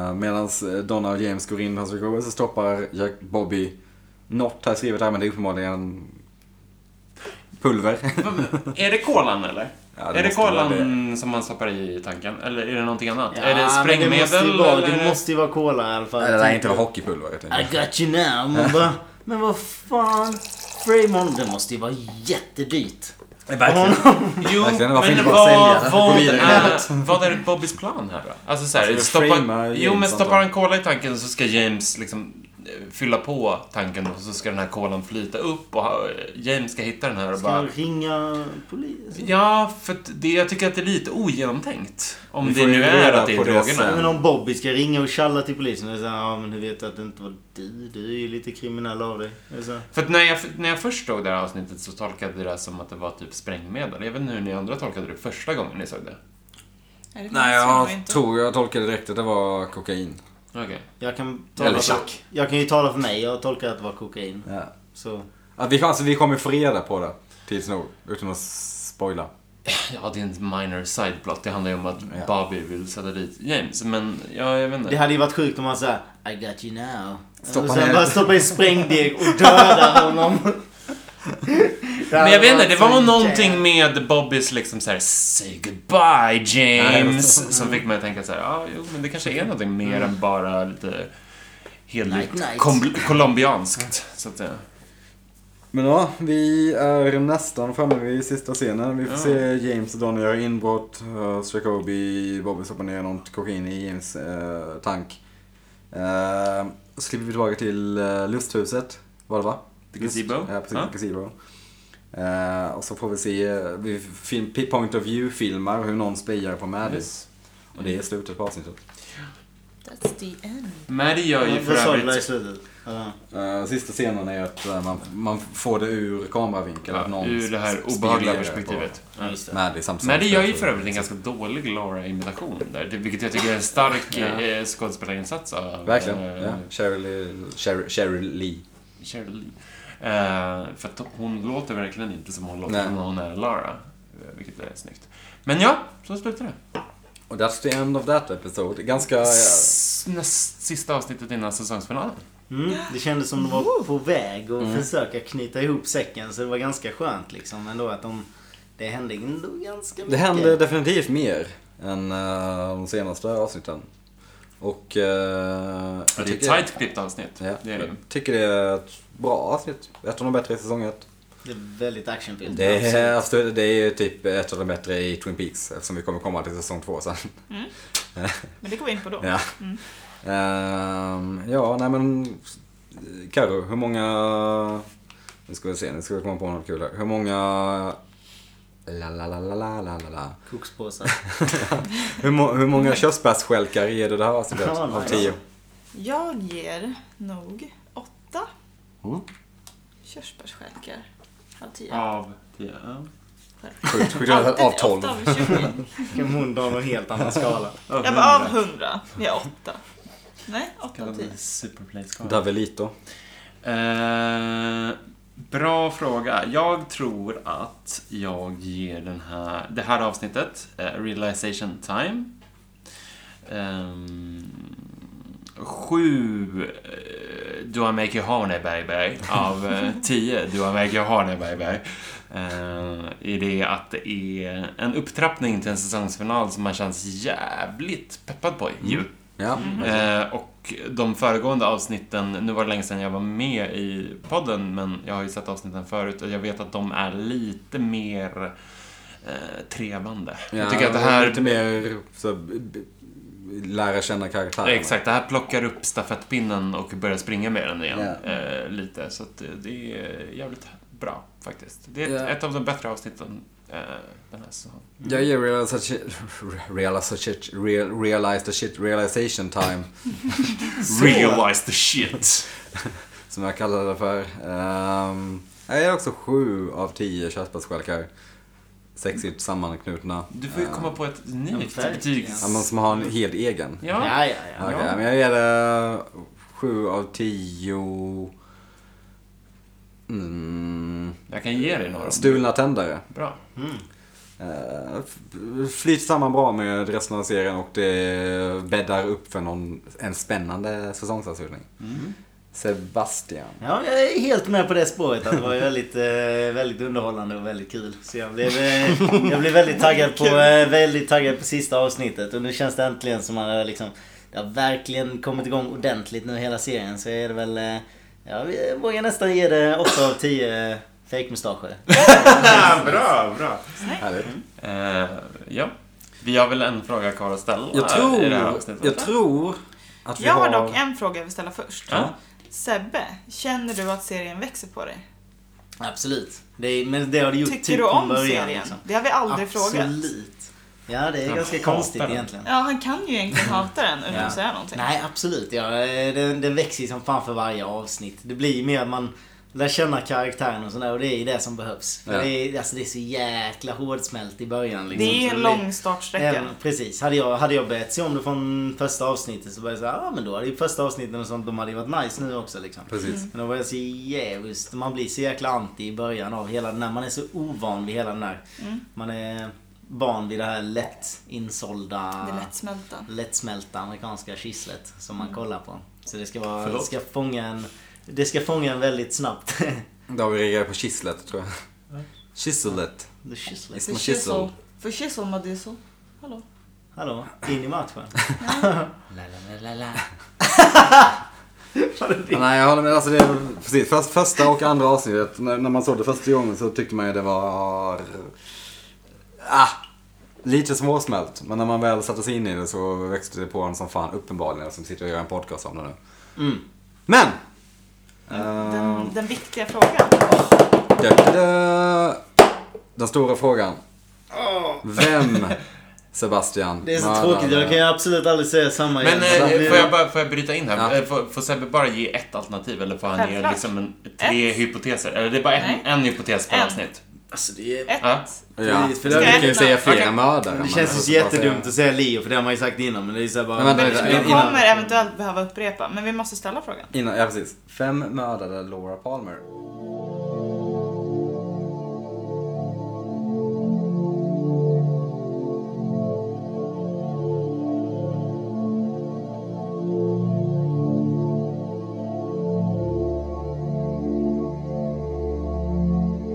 Uh, Medan Donna och James går in hos Jacobi så stoppar Jack Bobby något här skrivet här men det är uppenbarligen pulver. Men Är det kolan eller? Ja, det är det måste vara kolan som man stoppar i tanken? Eller är det någonting annat? Ja, är det men sprängmedel? Det måste ju vara, eller? det måste ju vara cola i alla fall. Nej, det där är inte hockeypulver. jag tänker. I got you now. Man bara, men vad fan. Raymond, det måste ju vara jättedyrt. Jo, Verkligen, men varför vad, inte bara sälja? Gå vad, vidare är, vad är Bobbys plan här då? Alltså så här, Alltså, stoppa, frama jo, men James stoppar han antar kola i tanken så ska James liksom eh, fylla på tanken och så ska den här kolan flyta upp och ha- James ska hitta den här och Ska bara... jag ringa polisen? Ja, för att det, jag tycker att det är lite ogenomtänkt. Om Vi det får ju nu är reda att det är på det drogerna. sen. Men om Bobby ska ringa och tjalla till polisen. Och säga, ja men hur vet du att det inte var du? Du är ju lite kriminell av dig. Det är så. För att när jag, när jag först såg det här avsnittet så tolkade jag det som att det var typ sprängmedel. Jag vet inte hur ni andra tolkade det första gången ni såg det. Nej, det Nej, minns nog jag inte. tror jag tolkade direkt att det var kokain. Okej. Jag kan tala Eller för, tjack. Jag kan ju tala för mig. Jag tolkar att det var kokain. Ja. Så. Att vi, alltså, vi kommer få reda på det tids nog, utan att spoila. Ja, det är en minor side plot. Det handlar ju om att Bobby vill sätta dit James. Men, ja, jag vet inte. Det hade ju varit sjukt om han sa I got you now. Stoppa och sen ner. bara stoppa i sprängdeg och döda honom. Det hade Men jag vet inte, varit det så var jävla- någonting med Bobbys liksom såhär Say goodbye James. Som fick mig att tänka såhär, ja ah, jo men det kanske är någonting mer än bara lite Night, hederligt night. kom- colombianskt. Så att säga. Men ja, vi är nästan framme vid sista scenen. Vi får se James och Donny göra inbrott. eh, Jacobi, Bobby stoppar ner något kokain i James eh, tank. Eh, så klipper vi tillbaka till eh, lusthuset. Var det va? The gazebo. Lust- Ja, precis. Ja. Gazebo. Eh, och så får vi se, eh, vi film, point of view-filmar hur någon spejar på Maddie. Yes. Och det är slutet på avsnittet. That's the end. Maddie gör ju för Vad sa du där i övrigt slutet? Ja. Eh, sista scenen är att eh, man, man får det ur kameravinkel. att ja, någon ur det här sp- obehagliga spionerar på perspektivet. Ja. Ja, just det. Maddie samtidigt. Men det gör ju för övrigt en ganska dålig Laura-imitation där, det- vilket jag tycker är en stark eh, skådespelarinsats av Verkligen. eh, Ja. Cheryl, Cheryl, Cheryl Lee. Cheryl Lee. Eh, för att hon låter verkligen inte som hon låter Nej. när hon är Lara. eh, Vilket är snyggt. Men ja, så slutar det. Och that's the end of that episode. Ganska... ja. S- Näst sista avsnittet innan säsongsfinalen. Mm, det kändes som de var på väg att Mm. försöka knyta ihop säcken så det var ganska skönt liksom ändå att de... Det hände ändå ganska mycket. Det hände definitivt mer än eh, de senaste avsnitten. Och... Det eh, jag är ett tycker- tajt klippt avsnitt. Ja, Det är det. jag tycker det är ett bra avsnitt. Ett av de bättre i säsong ett. Det är väldigt actionfyllt. Det är, absolut. alltså, det är ju typ ett av de bättre i Twin Peaks eftersom vi kommer komma till säsong två sen. Men det går vi in på då. Ja. Ehm, ja, nej men... Karo, hur många... Nu ska vi se, nu ska vi komma på något kul här. Hur många... La, la, la, la, la, la, la, la. Kokspåsar. Hur, må, hur många körsbärsstjälkar ger du det här avsnittet Ja, av nice. tio? Jag ger nog åtta Mm. körsbärsstjälkar av tio. Av tio. Ja. Sjukt, sjukt av tolv. Åtta av tjugo. Hon drar någon helt annan skala. Jag bara av 100. Vi har 8. Nej, 8 av 10. Superplay-skala. Davelito. Eh, bra fråga. Jag tror att jag ger den här, det här avsnittet, eh, Realization Time, ehm, sju eh, Do I Make You Horny Baby av eh, tio Do I Make You Horny Baby. Eh, I det att det är en upptrappning till en säsongsfinal som man känns jävligt peppad på ju. Ja. Eh, och de föregående avsnitten, nu var det länge sedan jag var med i podden, men jag har ju sett avsnitten förut och jag vet att de är lite mer eh, trevande. jag tycker att det här... Lite mer så, b- b- lära känna karaktärerna. Exakt, det här plockar upp stafettpinnen och börjar springa med den igen. Ja. Eh, lite, så att eh, det är jävligt bra faktiskt. Det är ett, Ja. ett av de bättre avsnitten eh, den här säsongen. Jag ger realize the shit, realize the shit, real, realize the shit realization time. Realize the shit! Som jag kallar det för. Ehm, jag är också sju av tio körsbärsstjälkar. Sexigt sammanknutna. Du får ju komma på ett nytt verkligen. betygs... Ja, men som har en helt egen. Ja. Ja, ja, ja. Okej, men jag ger det sju av tio... Mm, Jag kan ge dig några. stulna tändare. Bra. Eh, f- flyter samman bra med resten av serien och det bäddar upp för någon, en spännande säsongsavslutning. Mm. Sebastian. Ja, jag är helt med på det spåret. Att det var ju väldigt, eh, väldigt underhållande och väldigt kul. Så jag blev, eh, jag blev väldigt, taggad på, eh, väldigt taggad på sista avsnittet. Och nu känns det äntligen som att eh, liksom, det har verkligen kommit igång ordentligt nu hela serien. Så är det väl... eh, Ja, vi vågar nästan ge det 8 av eh, 10 fejkmustascher. bra, bra. Härligt. Eh, ja. Vi har väl en fråga kvar att ställa Jag tror, i det här avsnittet. jag tror att vi Jag har har... dock en fråga jag vill ställa först. Ja. Sebbe, känner du att serien växer på dig? Absolut. Det är, men det har det gjort Tycker typ du om från början. serien? Liksom. Det har vi aldrig frågat. Absolut. Ja, det är Jag ganska hatar konstigt den. egentligen. Ja, han kan ju egentligen hata den utan Ja. att säga någonting. Nej, absolut. Ja, eh, den, den växer ju som fan för varje avsnitt. Det blir ju mer att man lär känna karaktären och sådär och det är ju det som behövs. För Ja. det, är, alltså, det är så jäkla hårdsmält i början. Liksom, det är Så en blir- lång startsträcka. Även, precis. Hade jag, hade jag bett se om det från första avsnittet så var jag såhär, ja ah, men då hade ju första avsnitten och sånt, de hade ju varit nice nu också liksom. Precis. Men då var jag så jävligt, man blir så jäkla anti i början av hela den här, man är så ovan vid hela den här. Mm. Man är van vid det här lätt insålda Det är lättsmälta. lättsmälta amerikanska kisslet som man kollar på. Så det ska, vara, Förlåt? det ska fånga en det ska fånga en väldigt snabbt. Då har vi reagerat på kisslet tror jag. Kisselet. The kisslet. För Små kissel. kissel. För kissel med diesel. Hallå. Hallå, in i matchen. la, la, la, la, la. Ja, Nej, jag håller med. Alltså, det är, precis, först, första och andra avsnittet, när, när man såg det första gången så tyckte man ju det var... Ah, lite småsmält. Men när man väl satte sig in i det så växte det på en som fan, uppenbarligen, som sitter och gör en podcast om det nu. Mm. Eh. Men! Ehm, Den, den viktiga frågan. dö, dö, dö. Den stora frågan. Vem, Sebastian? Det är så mördade- tråkigt, jag kan ju absolut aldrig säga samma Men igen. Så att eh, nu- får, jag bara, får jag bryta in här? Ja. Eh, Får, får Sebbe bara ge ett alternativ eller får han ge Självklart. liksom en, tre hypoteser? Eller det är bara en, Nej. en hypotes per En. avsnitt? Alltså det är... Ett. Ja. Ja, Precis, för vi det- kan ju säga fyra Okej. mördare. Det men känns ju måste så bara säga- jättedumt att säga Leo för det har man ju sagt innan men det är ju såhär bara... Men vänta, Men- vänta, Du innan- kommer eventuellt behöva upprepa, men vi måste ställa frågan. Innan, ja precis. Fem mördade Laura Palmer. eh,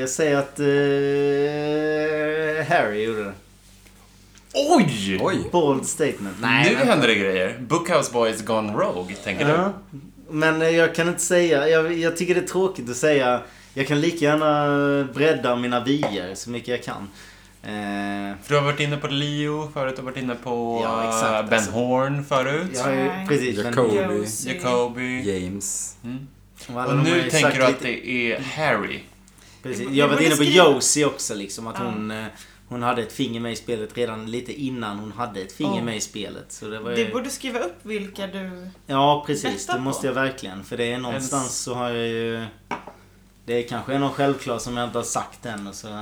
Jag säger att eh, Harry gjorde det. Oj! Oj! Bold statement. nu händer det grejer. Bookhouse Boys gone rogue, tänker Ja. Men eh, jag kan inte säga, jag, jag tycker det är tråkigt att säga. Jag kan lika gärna bredda mina vyer så mycket jag kan. Eh, du. För du har varit inne på Leo förut, du har varit inne på Ja, exakt, eh, Ben alltså. Horn förut. jag har ju, Nej. precis, men, Jacob. Jacobi. James. och alla Och de har nu ju tänker sagt du att lite- det är Harry. Precis. Jag Jag var borde inne på skriva- Josie också liksom. Att Ja. hon, eh, hon hade ett finger med i spelet redan lite innan hon hade ett finger Ja. med i spelet. Så det var ju... Du borde skriva upp vilka du... Ja precis, betta det på. måste jag verkligen. För det är En- någonstans så har jag ju... Det är kanske är någon självklar som jag inte har sagt än och så eh, Och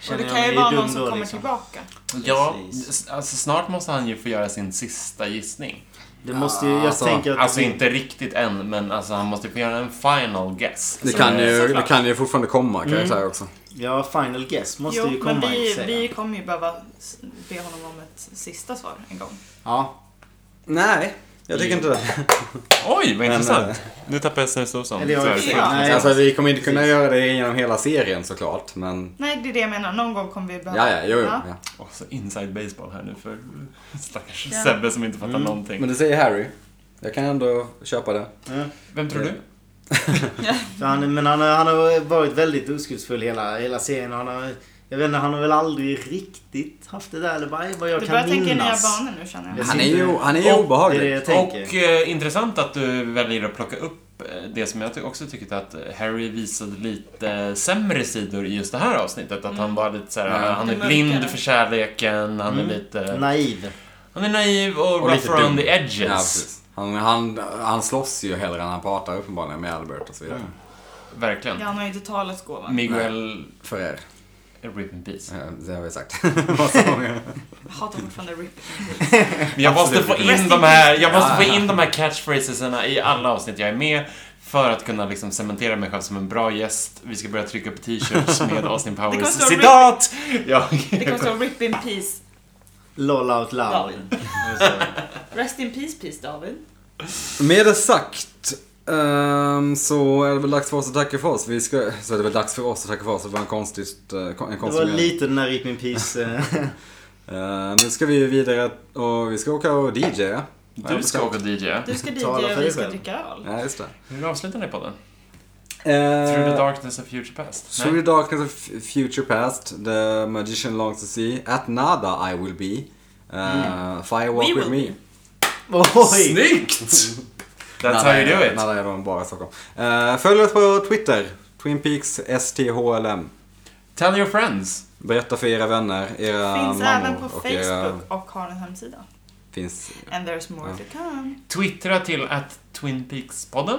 känner det jag kan mig ju vara dum någon som då, kommer liksom. tillbaka. Ja, Precis. s- alltså snart måste han ju få göra sin sista gissning. Det måste ju, jag Alltså, tänker att... Alltså inte riktigt än, men alltså han måste få göra en final guess. Det Så- kan, ju, det såklart. kan ju fortfarande komma kan jag säga också. Ja, final guess måste jo, ju komma men i vi, och för sig. vi kommer ju behöva s- be honom om ett sista svar en gång. Ja, Nej, jag tycker inte det. Oj, vad eh, intressant. Nu tappade jag snusdosan. Eller jag- Sorry. Ja. Nej. Alltså vi kommer inte kunna göra det genom hela serien såklart, men... Nej, det är det jag menar. Någon gång kommer vi behöva... Ja, ja, jo, jo. Ja. Åh, så inside baseball här nu för stackars Sebbe som inte fattar Mm. någonting. Men du säger Harry. Jag kan ändå köpa det. Vem tror du? Så han, men han, har- han har varit väldigt oskuldsfull hela, hela serien. Han har, jag vet inte, han har väl aldrig riktigt haft det där eller vad vad jag Du börjar kan tänka i nya minnas. banor nu känner jag. Jag Han är sitter- ju, han är ju Det Och- är det obehaglig. jag tänker. Och eh, intressant att du väljer att plocka upp eh, det som jag ty- också tyckte att Harry visade lite sämre sidor i just det här avsnittet. Att han var lite såhär, Ja. han Lite är blind Mm. mörkare. för kärleken, han Mm. är lite... Naiv. Han är naiv och, Och rough lite around dum. the edges. Ja, precis. han, han, han slåss ju hellre än han pratar uppenbarligen med Albert och så vidare. Verkligen. Ja, han har ju inte talets gåva. Miguel, För er. rip in peace. Eh, Det har vi sagt. Massa gånger. Jag hatar fortfarande Rip. Men jag måste få Absolut. in de här, jag måste få in de här catchphraseserna i alla avsnitt jag är med. För att kunna liksom cementera mig själv som en bra gäst. Vi ska börja trycka upp t-shirts med Austin Det kommer Powers stå rip- citat! Ja, Det kommer stå Rip in Peace. LOL out loud. Rest in Peace Peace David. Med det sagt ehm, så är det väl dags för oss att tacka för oss. Vi ska, så är det väl dags för oss att tacka för oss. Det var en konstigt... eh, kon- En Det konstig var mening. lite den där Rip in Peace. eh, Eh, nu ska vi ju vidare och vi ska åka och DJa. Du ska åka och DJ. Du ska DJ Tala för och dig vi ska själv. dricka öl. Ja, just det. Hur avslutar ni podden? Eh, Through the darkness of future past? Through the darkness of f- future past, the magician longs to see, at nada I will be, Mm. uh, firewalk We with will me. Oj! Snyggt! That's how Nada you do är- it. Nada är de bara i Stockholm. Eh, följ oss på Twitter, Twin Peaks STHLM. Tell your friends. Berätta för era vänner, era Finns mammor även på och era... Facebook och har en hemsida. Finns... And there's more to come. Twittra till att Twin Peaks-podden.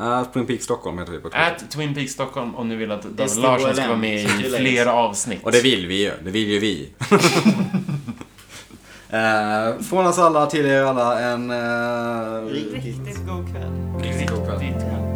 Uh, Twin Peaks Stockholm heter vi på Twitter. At Twin Peaks Stockholm om ni vill att David SDHLM. Larsson ska vara med i flera avsnitt. Och det vill vi ju, det vill ju vi. Eh, från oss alla till er alla en... eh, Riktigt. Riktigt god kväll. Riktigt god kväll.